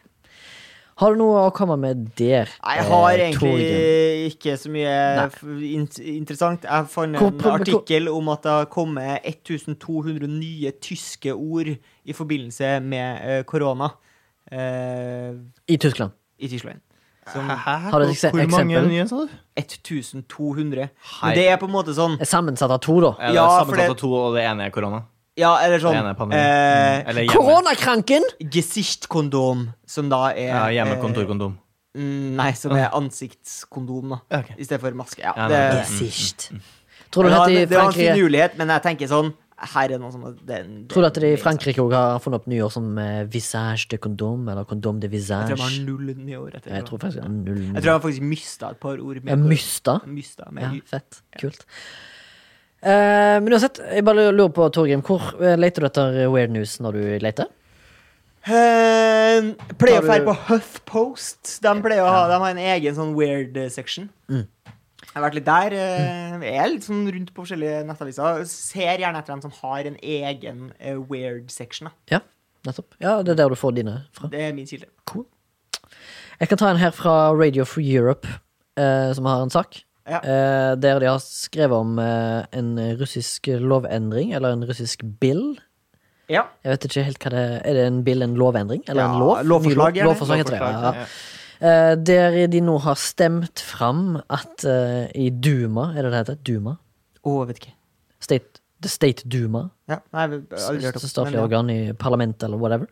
[SPEAKER 2] Har du noe å komme med der?
[SPEAKER 1] Nei, Jeg har
[SPEAKER 2] eh, Torgrim?
[SPEAKER 1] egentlig ikke så mye
[SPEAKER 2] Nei.
[SPEAKER 1] f- int- interessant. Jeg fant
[SPEAKER 2] Hvor-
[SPEAKER 1] en
[SPEAKER 2] hvor-
[SPEAKER 1] artikkel om at det har kommet 1200 nye tyske ord i forbindelse med eh, korona eh,
[SPEAKER 2] I Tyskland.
[SPEAKER 1] i Tyskland. Som
[SPEAKER 2] Har du et ekse-
[SPEAKER 5] Hvor mange
[SPEAKER 2] eksempel?
[SPEAKER 5] nye, sa du?
[SPEAKER 1] 1200.
[SPEAKER 5] Hei.
[SPEAKER 1] Men det er på en måte sånn
[SPEAKER 2] Sammensatt av to, da.
[SPEAKER 5] Ja, det er
[SPEAKER 1] Ja, for
[SPEAKER 5] sammensatt
[SPEAKER 1] det-
[SPEAKER 5] av to, og det ene er korona.
[SPEAKER 1] Ja, eller sånn
[SPEAKER 5] Det ene er pandemi.
[SPEAKER 1] eh,
[SPEAKER 5] Eller hjemme,
[SPEAKER 2] Koronakranken!
[SPEAKER 1] Gesichtkondom, som da er
[SPEAKER 5] ja,
[SPEAKER 1] eh,
[SPEAKER 5] hjemmekontorkondom.
[SPEAKER 1] mm, Nei, som er ansiktskondom, da.
[SPEAKER 5] Ja, ok.
[SPEAKER 1] I stedet for maske. Ja,
[SPEAKER 5] Ja,
[SPEAKER 1] det,
[SPEAKER 5] nei,
[SPEAKER 1] ja,
[SPEAKER 5] det-
[SPEAKER 2] Sist. Tror
[SPEAKER 1] det,
[SPEAKER 2] du at
[SPEAKER 1] var-
[SPEAKER 2] de i
[SPEAKER 1] det var en
[SPEAKER 2] Frankrike
[SPEAKER 1] finurlighet, men jeg tenker sånn Her er noe som det, det,
[SPEAKER 2] Tror du at de i Frankrike også har funnet opp nye ord som eh, visage de condom, eller condom de
[SPEAKER 1] Jeg tror de har
[SPEAKER 2] visage?
[SPEAKER 1] null nye år etter
[SPEAKER 2] Jeg tror faktisk det er null.
[SPEAKER 1] Jeg tror jeg faktisk mista et par ord.
[SPEAKER 2] Jeg mysta.
[SPEAKER 1] Mista med
[SPEAKER 2] Ja,
[SPEAKER 1] hy-
[SPEAKER 2] fett. Kult. Eh, men uansett, jeg bare lurer på, Torgrim, hvor eh, leter du etter weird news når du leter?
[SPEAKER 1] Eh,
[SPEAKER 2] Har
[SPEAKER 1] pleier å
[SPEAKER 2] du-
[SPEAKER 1] dra på Huffpost. De pleier å ha, de har en egen sånn weird eh, section.
[SPEAKER 2] Mm.
[SPEAKER 1] Jeg har vært litt der. eh, Jeg er litt sånn rundt på forskjellige nettaviser. Ser gjerne etter dem som har en egen eh, weird section. Da.
[SPEAKER 2] Ja, nettopp. Ja, det er der du får dine fra.
[SPEAKER 1] Det er min kilde.
[SPEAKER 2] Jeg kan ta en her fra Radio Free Europe, eh, som har en sak.
[SPEAKER 1] Ja.
[SPEAKER 2] Eh, der de har skrevet om eh, en russisk lovendring, eller en russisk bill.
[SPEAKER 1] Ja.
[SPEAKER 2] Jeg vet ikke helt hva det er. Er det en bill, en lovendring? Eller en
[SPEAKER 1] Ja,
[SPEAKER 2] lov?
[SPEAKER 1] lovforslag,
[SPEAKER 2] Ny
[SPEAKER 1] gjerne.
[SPEAKER 2] lov? Lovforslag heter det.
[SPEAKER 5] Lovforslag,
[SPEAKER 2] Ja. Eh, der de nå har stemt fram at eh, i Duma, er det det heter? Duma?
[SPEAKER 1] Å, vet ikke.
[SPEAKER 2] State, the State Duma,
[SPEAKER 1] Ja, nei, jeg har aldri hørt om det,
[SPEAKER 2] statlig
[SPEAKER 1] men ja.
[SPEAKER 2] organ i parlamentet eller whatever,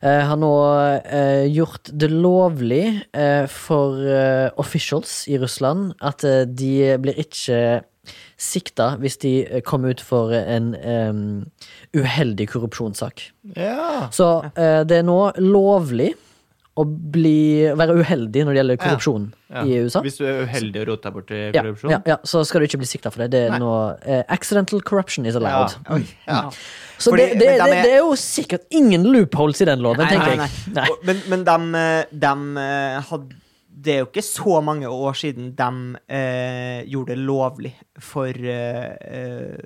[SPEAKER 2] eh, har nå eh, gjort det lovlig eh, for eh, officials i Russland at eh, de blir ikke sikta hvis de eh, kommer ut for en em, uheldig korrupsjonssak.
[SPEAKER 5] Ja.
[SPEAKER 2] Så eh, det er nå lovlig å bli, være uheldig når det gjelder korrupsjon
[SPEAKER 5] Ja.
[SPEAKER 2] i USA.
[SPEAKER 5] Hvis du er uheldig og roter deg bort i
[SPEAKER 2] Ja,
[SPEAKER 5] korrupsjon.
[SPEAKER 2] ja, ja, så skal du ikke bli sikta for det. Det er
[SPEAKER 5] Nei.
[SPEAKER 2] nå eh, Accidental corruption is allowed.
[SPEAKER 1] Oi, ja.
[SPEAKER 2] Mm. Så
[SPEAKER 1] Fordi-
[SPEAKER 2] det, det,
[SPEAKER 1] men de
[SPEAKER 2] det,
[SPEAKER 1] er-
[SPEAKER 2] det er jo sikkert ingen loopholes i den loven, tenker jeg. Nei.
[SPEAKER 1] Og- Men, men dem, eh, dem eh, hadde Det er jo ikke så mange år siden de eh, gjorde det lovlig for eh, eh,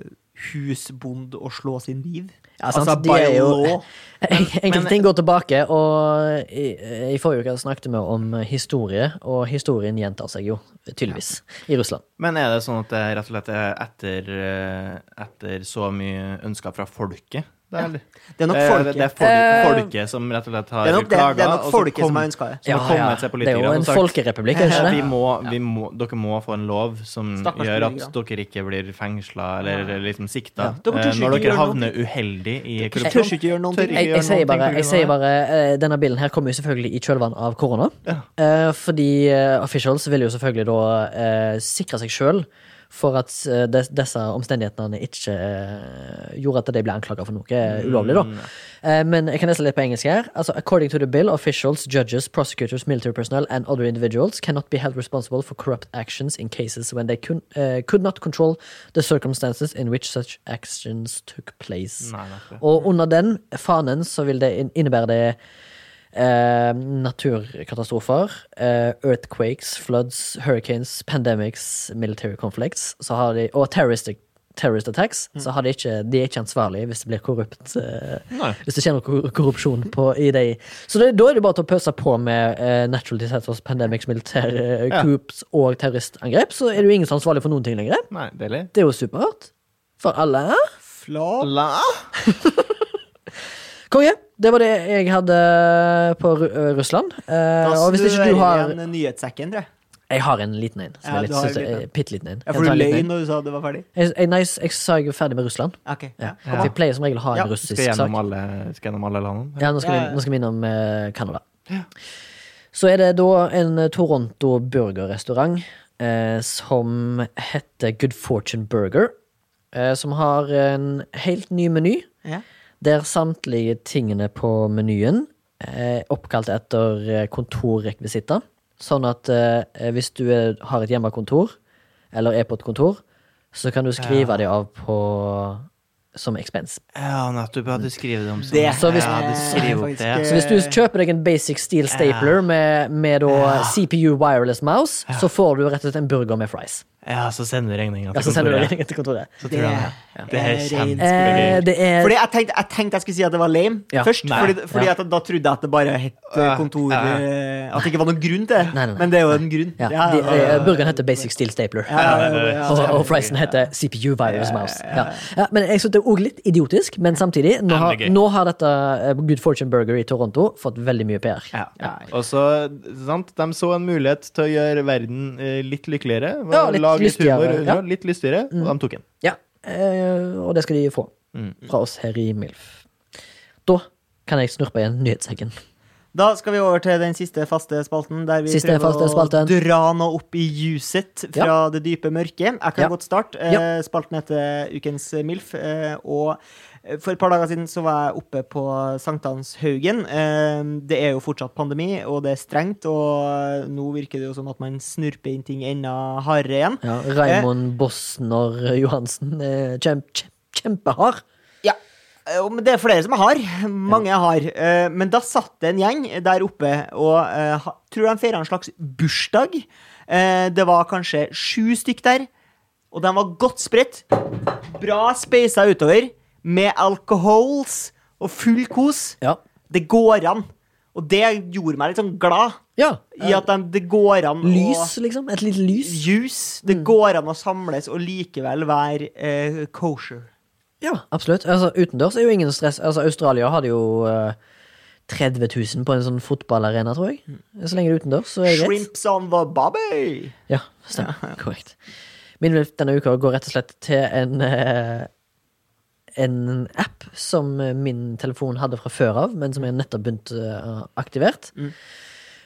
[SPEAKER 1] husbond å slå sin liv. Altså,
[SPEAKER 2] Ja, sant, de er jo- (laughs) Enkelte ting går tilbake, og i, i forrige uke snakket vi om historie, og historien gjentar seg jo, tydeligvis, i Russland.
[SPEAKER 5] Men er det sånn at det rett og slett er etter, eh, etter så mye ønsker fra folket? Det er,
[SPEAKER 1] Det er nok
[SPEAKER 5] Eh,
[SPEAKER 1] folket.
[SPEAKER 5] Det er folket, folket som rett og slett har
[SPEAKER 1] Det er nok det-
[SPEAKER 5] klaga.
[SPEAKER 1] det er
[SPEAKER 5] og
[SPEAKER 1] nok
[SPEAKER 5] så
[SPEAKER 1] folket som har ønsket det.
[SPEAKER 5] Som har kommet seg
[SPEAKER 2] det er
[SPEAKER 5] politikere
[SPEAKER 2] jo
[SPEAKER 5] og
[SPEAKER 2] en
[SPEAKER 5] sagt, "Eh,
[SPEAKER 2] folkerepublikk,
[SPEAKER 5] (laughs)
[SPEAKER 2] er det ikke
[SPEAKER 5] Vi
[SPEAKER 2] det?
[SPEAKER 5] må, vi må, dere må få en lov som
[SPEAKER 1] Stakkars
[SPEAKER 5] gjør at
[SPEAKER 1] politikere.
[SPEAKER 5] dere ikke blir fengsla eller liksom sikta
[SPEAKER 1] Dere tør
[SPEAKER 5] eh, når
[SPEAKER 1] ikke gjøre
[SPEAKER 5] dere
[SPEAKER 1] noe.
[SPEAKER 5] havner uheldig i
[SPEAKER 1] Tør
[SPEAKER 5] korrupsjon.
[SPEAKER 1] ikke gjøre noen
[SPEAKER 5] Tør
[SPEAKER 1] ting.
[SPEAKER 5] ikke
[SPEAKER 2] Jeg, jeg
[SPEAKER 5] gjøre
[SPEAKER 2] sier
[SPEAKER 5] noen
[SPEAKER 2] bare,
[SPEAKER 5] ting på
[SPEAKER 2] jeg
[SPEAKER 5] grunn
[SPEAKER 2] sier
[SPEAKER 5] av det.
[SPEAKER 2] bare eh, Denne bilen her kommer jo selvfølgelig i kjølvannet av korona. Eh, fordi eh, officials vil jo selvfølgelig da eh, sikre seg sjøl for at eh, des- disse omstendighetene ikke eh, gjorde at de ble anklaga for noe
[SPEAKER 5] Mm.
[SPEAKER 2] ulovlig, da. Eh, men jeg kan lese litt på engelsk her. Altså, according to the bill, officials, judges, prosecutors, military personnel and other individuals cannot be held responsible for corrupt actions in cases when they could, eh, could not control the circumstances in which such actions took place.
[SPEAKER 5] Nei, nettopp.
[SPEAKER 2] Og under den fanen så vil det inn- innebære det eh, naturkatastrofer, eh, earthquakes, floods, hurricanes, pandemics, military conflicts så har de, og terrorist, terrorist attacks.
[SPEAKER 5] Mm.
[SPEAKER 2] Så har de ikke, de er ikke ansvarlige hvis det blir korrupt. eh,
[SPEAKER 5] Nei.
[SPEAKER 2] hvis det skjer noe kor- korrupsjon på, i de. Så det, da er det bare til å pøse på med eh, natural disasters, pandemics, militære eh,
[SPEAKER 5] Ja.
[SPEAKER 2] coups og terroristangrep. Så er det jo ingen som er ansvarlig for noen ting lenger.
[SPEAKER 5] Nei, deilig.
[SPEAKER 2] Det er jo superhardt. For alle.
[SPEAKER 1] Fla-
[SPEAKER 5] La.
[SPEAKER 2] Konge, det var det jeg hadde på Ru- ø, Russland. Eh,
[SPEAKER 1] Da
[SPEAKER 2] og hvis ikke
[SPEAKER 1] snører
[SPEAKER 2] du har
[SPEAKER 1] igjen nyhetssekken, tror jeg.
[SPEAKER 2] Jeg har en liten en.
[SPEAKER 1] Ja,
[SPEAKER 2] Som er
[SPEAKER 1] du
[SPEAKER 2] litt,
[SPEAKER 1] har en
[SPEAKER 2] synes jeg
[SPEAKER 1] liten.
[SPEAKER 2] er bitte liten en.
[SPEAKER 1] Ja,
[SPEAKER 2] Kan
[SPEAKER 1] for
[SPEAKER 2] jeg ta en
[SPEAKER 1] du løy
[SPEAKER 2] liten en?
[SPEAKER 1] når du sa det var ferdig.
[SPEAKER 2] Jeg, jeg, nei, jeg sa jeg var ferdig med Russland.
[SPEAKER 1] Ok,
[SPEAKER 2] Ja.
[SPEAKER 1] ja. kom
[SPEAKER 2] Vi pleier som regel å ha en
[SPEAKER 1] Ja,
[SPEAKER 2] russisk
[SPEAKER 5] Skal
[SPEAKER 2] sak.
[SPEAKER 5] gjennom alle, skal gjennom alle landene.
[SPEAKER 2] Ja, nå skal,
[SPEAKER 1] Ja,
[SPEAKER 2] Vi,
[SPEAKER 1] ja.
[SPEAKER 2] nå skal vi innom eh, Canada. Så er det da en eh, Toronto burgerrestaurant eh, som heter Good Fortune Burger. Eh, som har en helt ny meny,
[SPEAKER 1] Ja.
[SPEAKER 2] der samtlige tingene på menyen er oppkalt etter eh, kontorrekvisitter. Sånn at eh, hvis du er, har et hjemmekontor, eller er på et kontor, så kan du skrive det av på som expense.
[SPEAKER 5] Ja, nettopp. Ja, du skriver det om sånn.
[SPEAKER 1] Det
[SPEAKER 2] Så hvis-
[SPEAKER 5] ja, du skriver opp det.
[SPEAKER 2] Så hvis
[SPEAKER 1] Eh.
[SPEAKER 2] du kjøper deg en basic steel stapler med, med da CPU wireless mouse, så får du rett og slett en burger med fries.
[SPEAKER 5] Ja, så sender du regninga
[SPEAKER 2] Ja,
[SPEAKER 5] til
[SPEAKER 2] så sender du
[SPEAKER 5] kontoret.
[SPEAKER 2] regningen til kontoret.
[SPEAKER 5] Så tror jeg Det er kjempe-
[SPEAKER 2] Eh, det er
[SPEAKER 1] Fordi jeg tenkte, jeg tenkte jeg skulle si at det var lame
[SPEAKER 2] Ja.
[SPEAKER 1] først.
[SPEAKER 5] Nei.
[SPEAKER 1] Fordi, fordi
[SPEAKER 2] Ja.
[SPEAKER 1] at da trodde jeg at det bare het eh, kontor
[SPEAKER 5] Ja.
[SPEAKER 1] eh, At det ikke var noen grunn til
[SPEAKER 2] Nei,
[SPEAKER 1] det.
[SPEAKER 2] nei, nei.
[SPEAKER 1] Men det er jo en grunn.
[SPEAKER 2] ja,
[SPEAKER 1] Ja,
[SPEAKER 2] de,
[SPEAKER 1] ja,
[SPEAKER 2] eh,
[SPEAKER 1] ja.
[SPEAKER 2] Burgeren heter basic steel stapler.
[SPEAKER 1] Ja, ja, ja, ja.
[SPEAKER 2] Og, og friesen heter CPU virus mouse. Ja. Ja, men jeg synes det er også litt idiotisk, men samtidig, nå har,
[SPEAKER 5] Veldig gøy.
[SPEAKER 2] nå har dette eh, Good Fortune Burger i Toronto fått veldig mye PR.
[SPEAKER 5] Ja. Og så, sant, de så en mulighet til å gjøre verden eh, litt lykkeligere.
[SPEAKER 2] Ja, litt
[SPEAKER 5] Lage litt humor,
[SPEAKER 2] lystigere, ja. Mm.
[SPEAKER 5] ja, litt lystigere, og de tok den.
[SPEAKER 2] Ja, eh, og det skal de få fra oss her i MILF. Da kan jeg snurpe igjen nyhetssekken.
[SPEAKER 1] Da skal vi over til den siste faste spalten, der vi
[SPEAKER 2] Siste
[SPEAKER 1] prøver
[SPEAKER 2] faste spalten.
[SPEAKER 1] å dra noe opp i ljuset fra det dype mørket. Jeg kan
[SPEAKER 2] Ja.
[SPEAKER 1] godt starte. Eh, Spalten heter Ukens MILF. eh, Og eh, for et par dager siden så var jeg oppe på Sankthanshaugen. Eh, Det er jo fortsatt pandemi, og det er strengt, og nå virker det jo som at man snurper inn ting enda hardere igjen. Eh,
[SPEAKER 2] Ja, Raimond Bosner Johansen er kjemp, kjemp, kjempehard.
[SPEAKER 1] Ja. eh, og- Men det er flere som har. Mange har. Eh, Men da satt det en gjeng der oppe og eh, ha- tror de feira en slags bursdag. Eh, Det var kanskje sju stykk der, og de var godt spredt. Bra speisa utover, med alcohols og full kos.
[SPEAKER 2] Ja.
[SPEAKER 1] Det går an. Og det gjorde meg litt sånn glad.
[SPEAKER 2] ja.
[SPEAKER 1] I at de, det går an å-
[SPEAKER 2] Eh, Lys, liksom. Et lite lys.
[SPEAKER 1] Ljus. Det går an å samles og likevel være eh, kosher.
[SPEAKER 2] Ja, absolutt. Altså, utendørs er jo ingen stress. Altså, Australia hadde jo eh, 30 000 på en sånn fotballarena, tror jeg. Så lenge det er utendørs, så er det greit.
[SPEAKER 1] Shrimps on the barbie!
[SPEAKER 2] Ja, stemmer. Korrekt. Min Ulf denne uka går rett og slett til en eh, en app som min telefon hadde fra før av, men som jeg nettopp begynt eh, aktivert.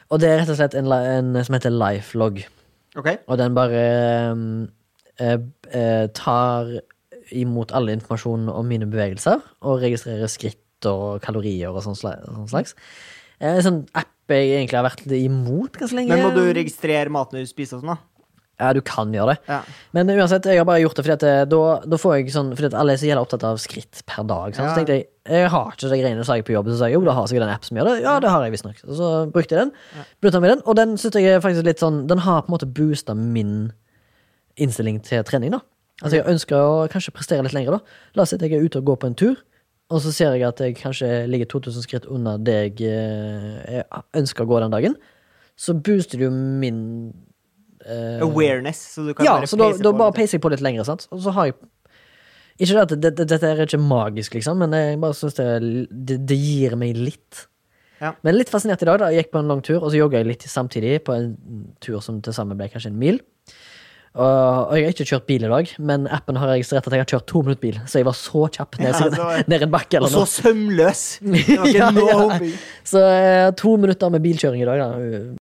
[SPEAKER 2] Og det er rett og slett en, li- en som heter Lifelog.
[SPEAKER 1] Ok.
[SPEAKER 2] Og den bare um, eh, eh, tar imot alle informasjon om mine bevegelser, og registrerer skritt og kalorier og sånn sla- sånn slags. Eh, En sånn app jeg egentlig har vært litt imot ganske lenge.
[SPEAKER 1] Men må du registrere maten du spiser og sånn, da?
[SPEAKER 2] Ja, du kan gjøre det.
[SPEAKER 1] Ja.
[SPEAKER 2] Men uansett, jeg har bare gjort det fordi at eh, da, da får jeg sånn Fordi at alle er så jævla opptatt av skritt per dag. Sant? Så
[SPEAKER 1] Ja.
[SPEAKER 2] tenkte jeg jeg har ikke de greiene, sa jeg på jobben. Så sa jeg jo, da har jeg sikkert en app som gjør det. Ja, det har jeg visstnok. Og så brukte jeg den. Begynte med den og den synes jeg er faktisk litt sånn Den har på en måte boosta min innstilling til trening, da. Altså, jeg ønsker å kanskje prestere litt lenger, da. La oss si at jeg er ute og går på en tur, og så ser jeg at jeg kanskje ligger 2000 skritt unna det jeg, eh, jeg ønsker å gå den dagen. Så booster det jo min eh,
[SPEAKER 1] Awareness, så du kan
[SPEAKER 2] ja,
[SPEAKER 1] bare
[SPEAKER 2] så da,
[SPEAKER 1] peise
[SPEAKER 2] da
[SPEAKER 1] på.
[SPEAKER 2] bare
[SPEAKER 1] litt.
[SPEAKER 2] peiser jeg på litt lenger, sant? Og så har jeg Ikke det at det, det, dette er ikke magisk, liksom, men jeg bare syns det, det, det gir meg litt.
[SPEAKER 1] Ja.
[SPEAKER 2] Men litt fascinert i dag, da. Jeg gikk på en lang tur, og så jogga jeg litt samtidig på en tur som til sammen ble kanskje en mil. Og, og jeg har ikke kjørt bil i dag, men appen har registrert at jeg har kjørt to minutter bil, så jeg var så kjapp ned,
[SPEAKER 1] Ja, så-
[SPEAKER 2] (laughs) ned en bakke
[SPEAKER 1] Og
[SPEAKER 2] eller
[SPEAKER 1] så
[SPEAKER 2] noe.
[SPEAKER 1] sømløs! Det var ikke
[SPEAKER 2] (laughs) Ja,
[SPEAKER 1] noe
[SPEAKER 2] ja.
[SPEAKER 1] hopping.
[SPEAKER 2] Så eh, to minutter med bilkjøring i dag, da.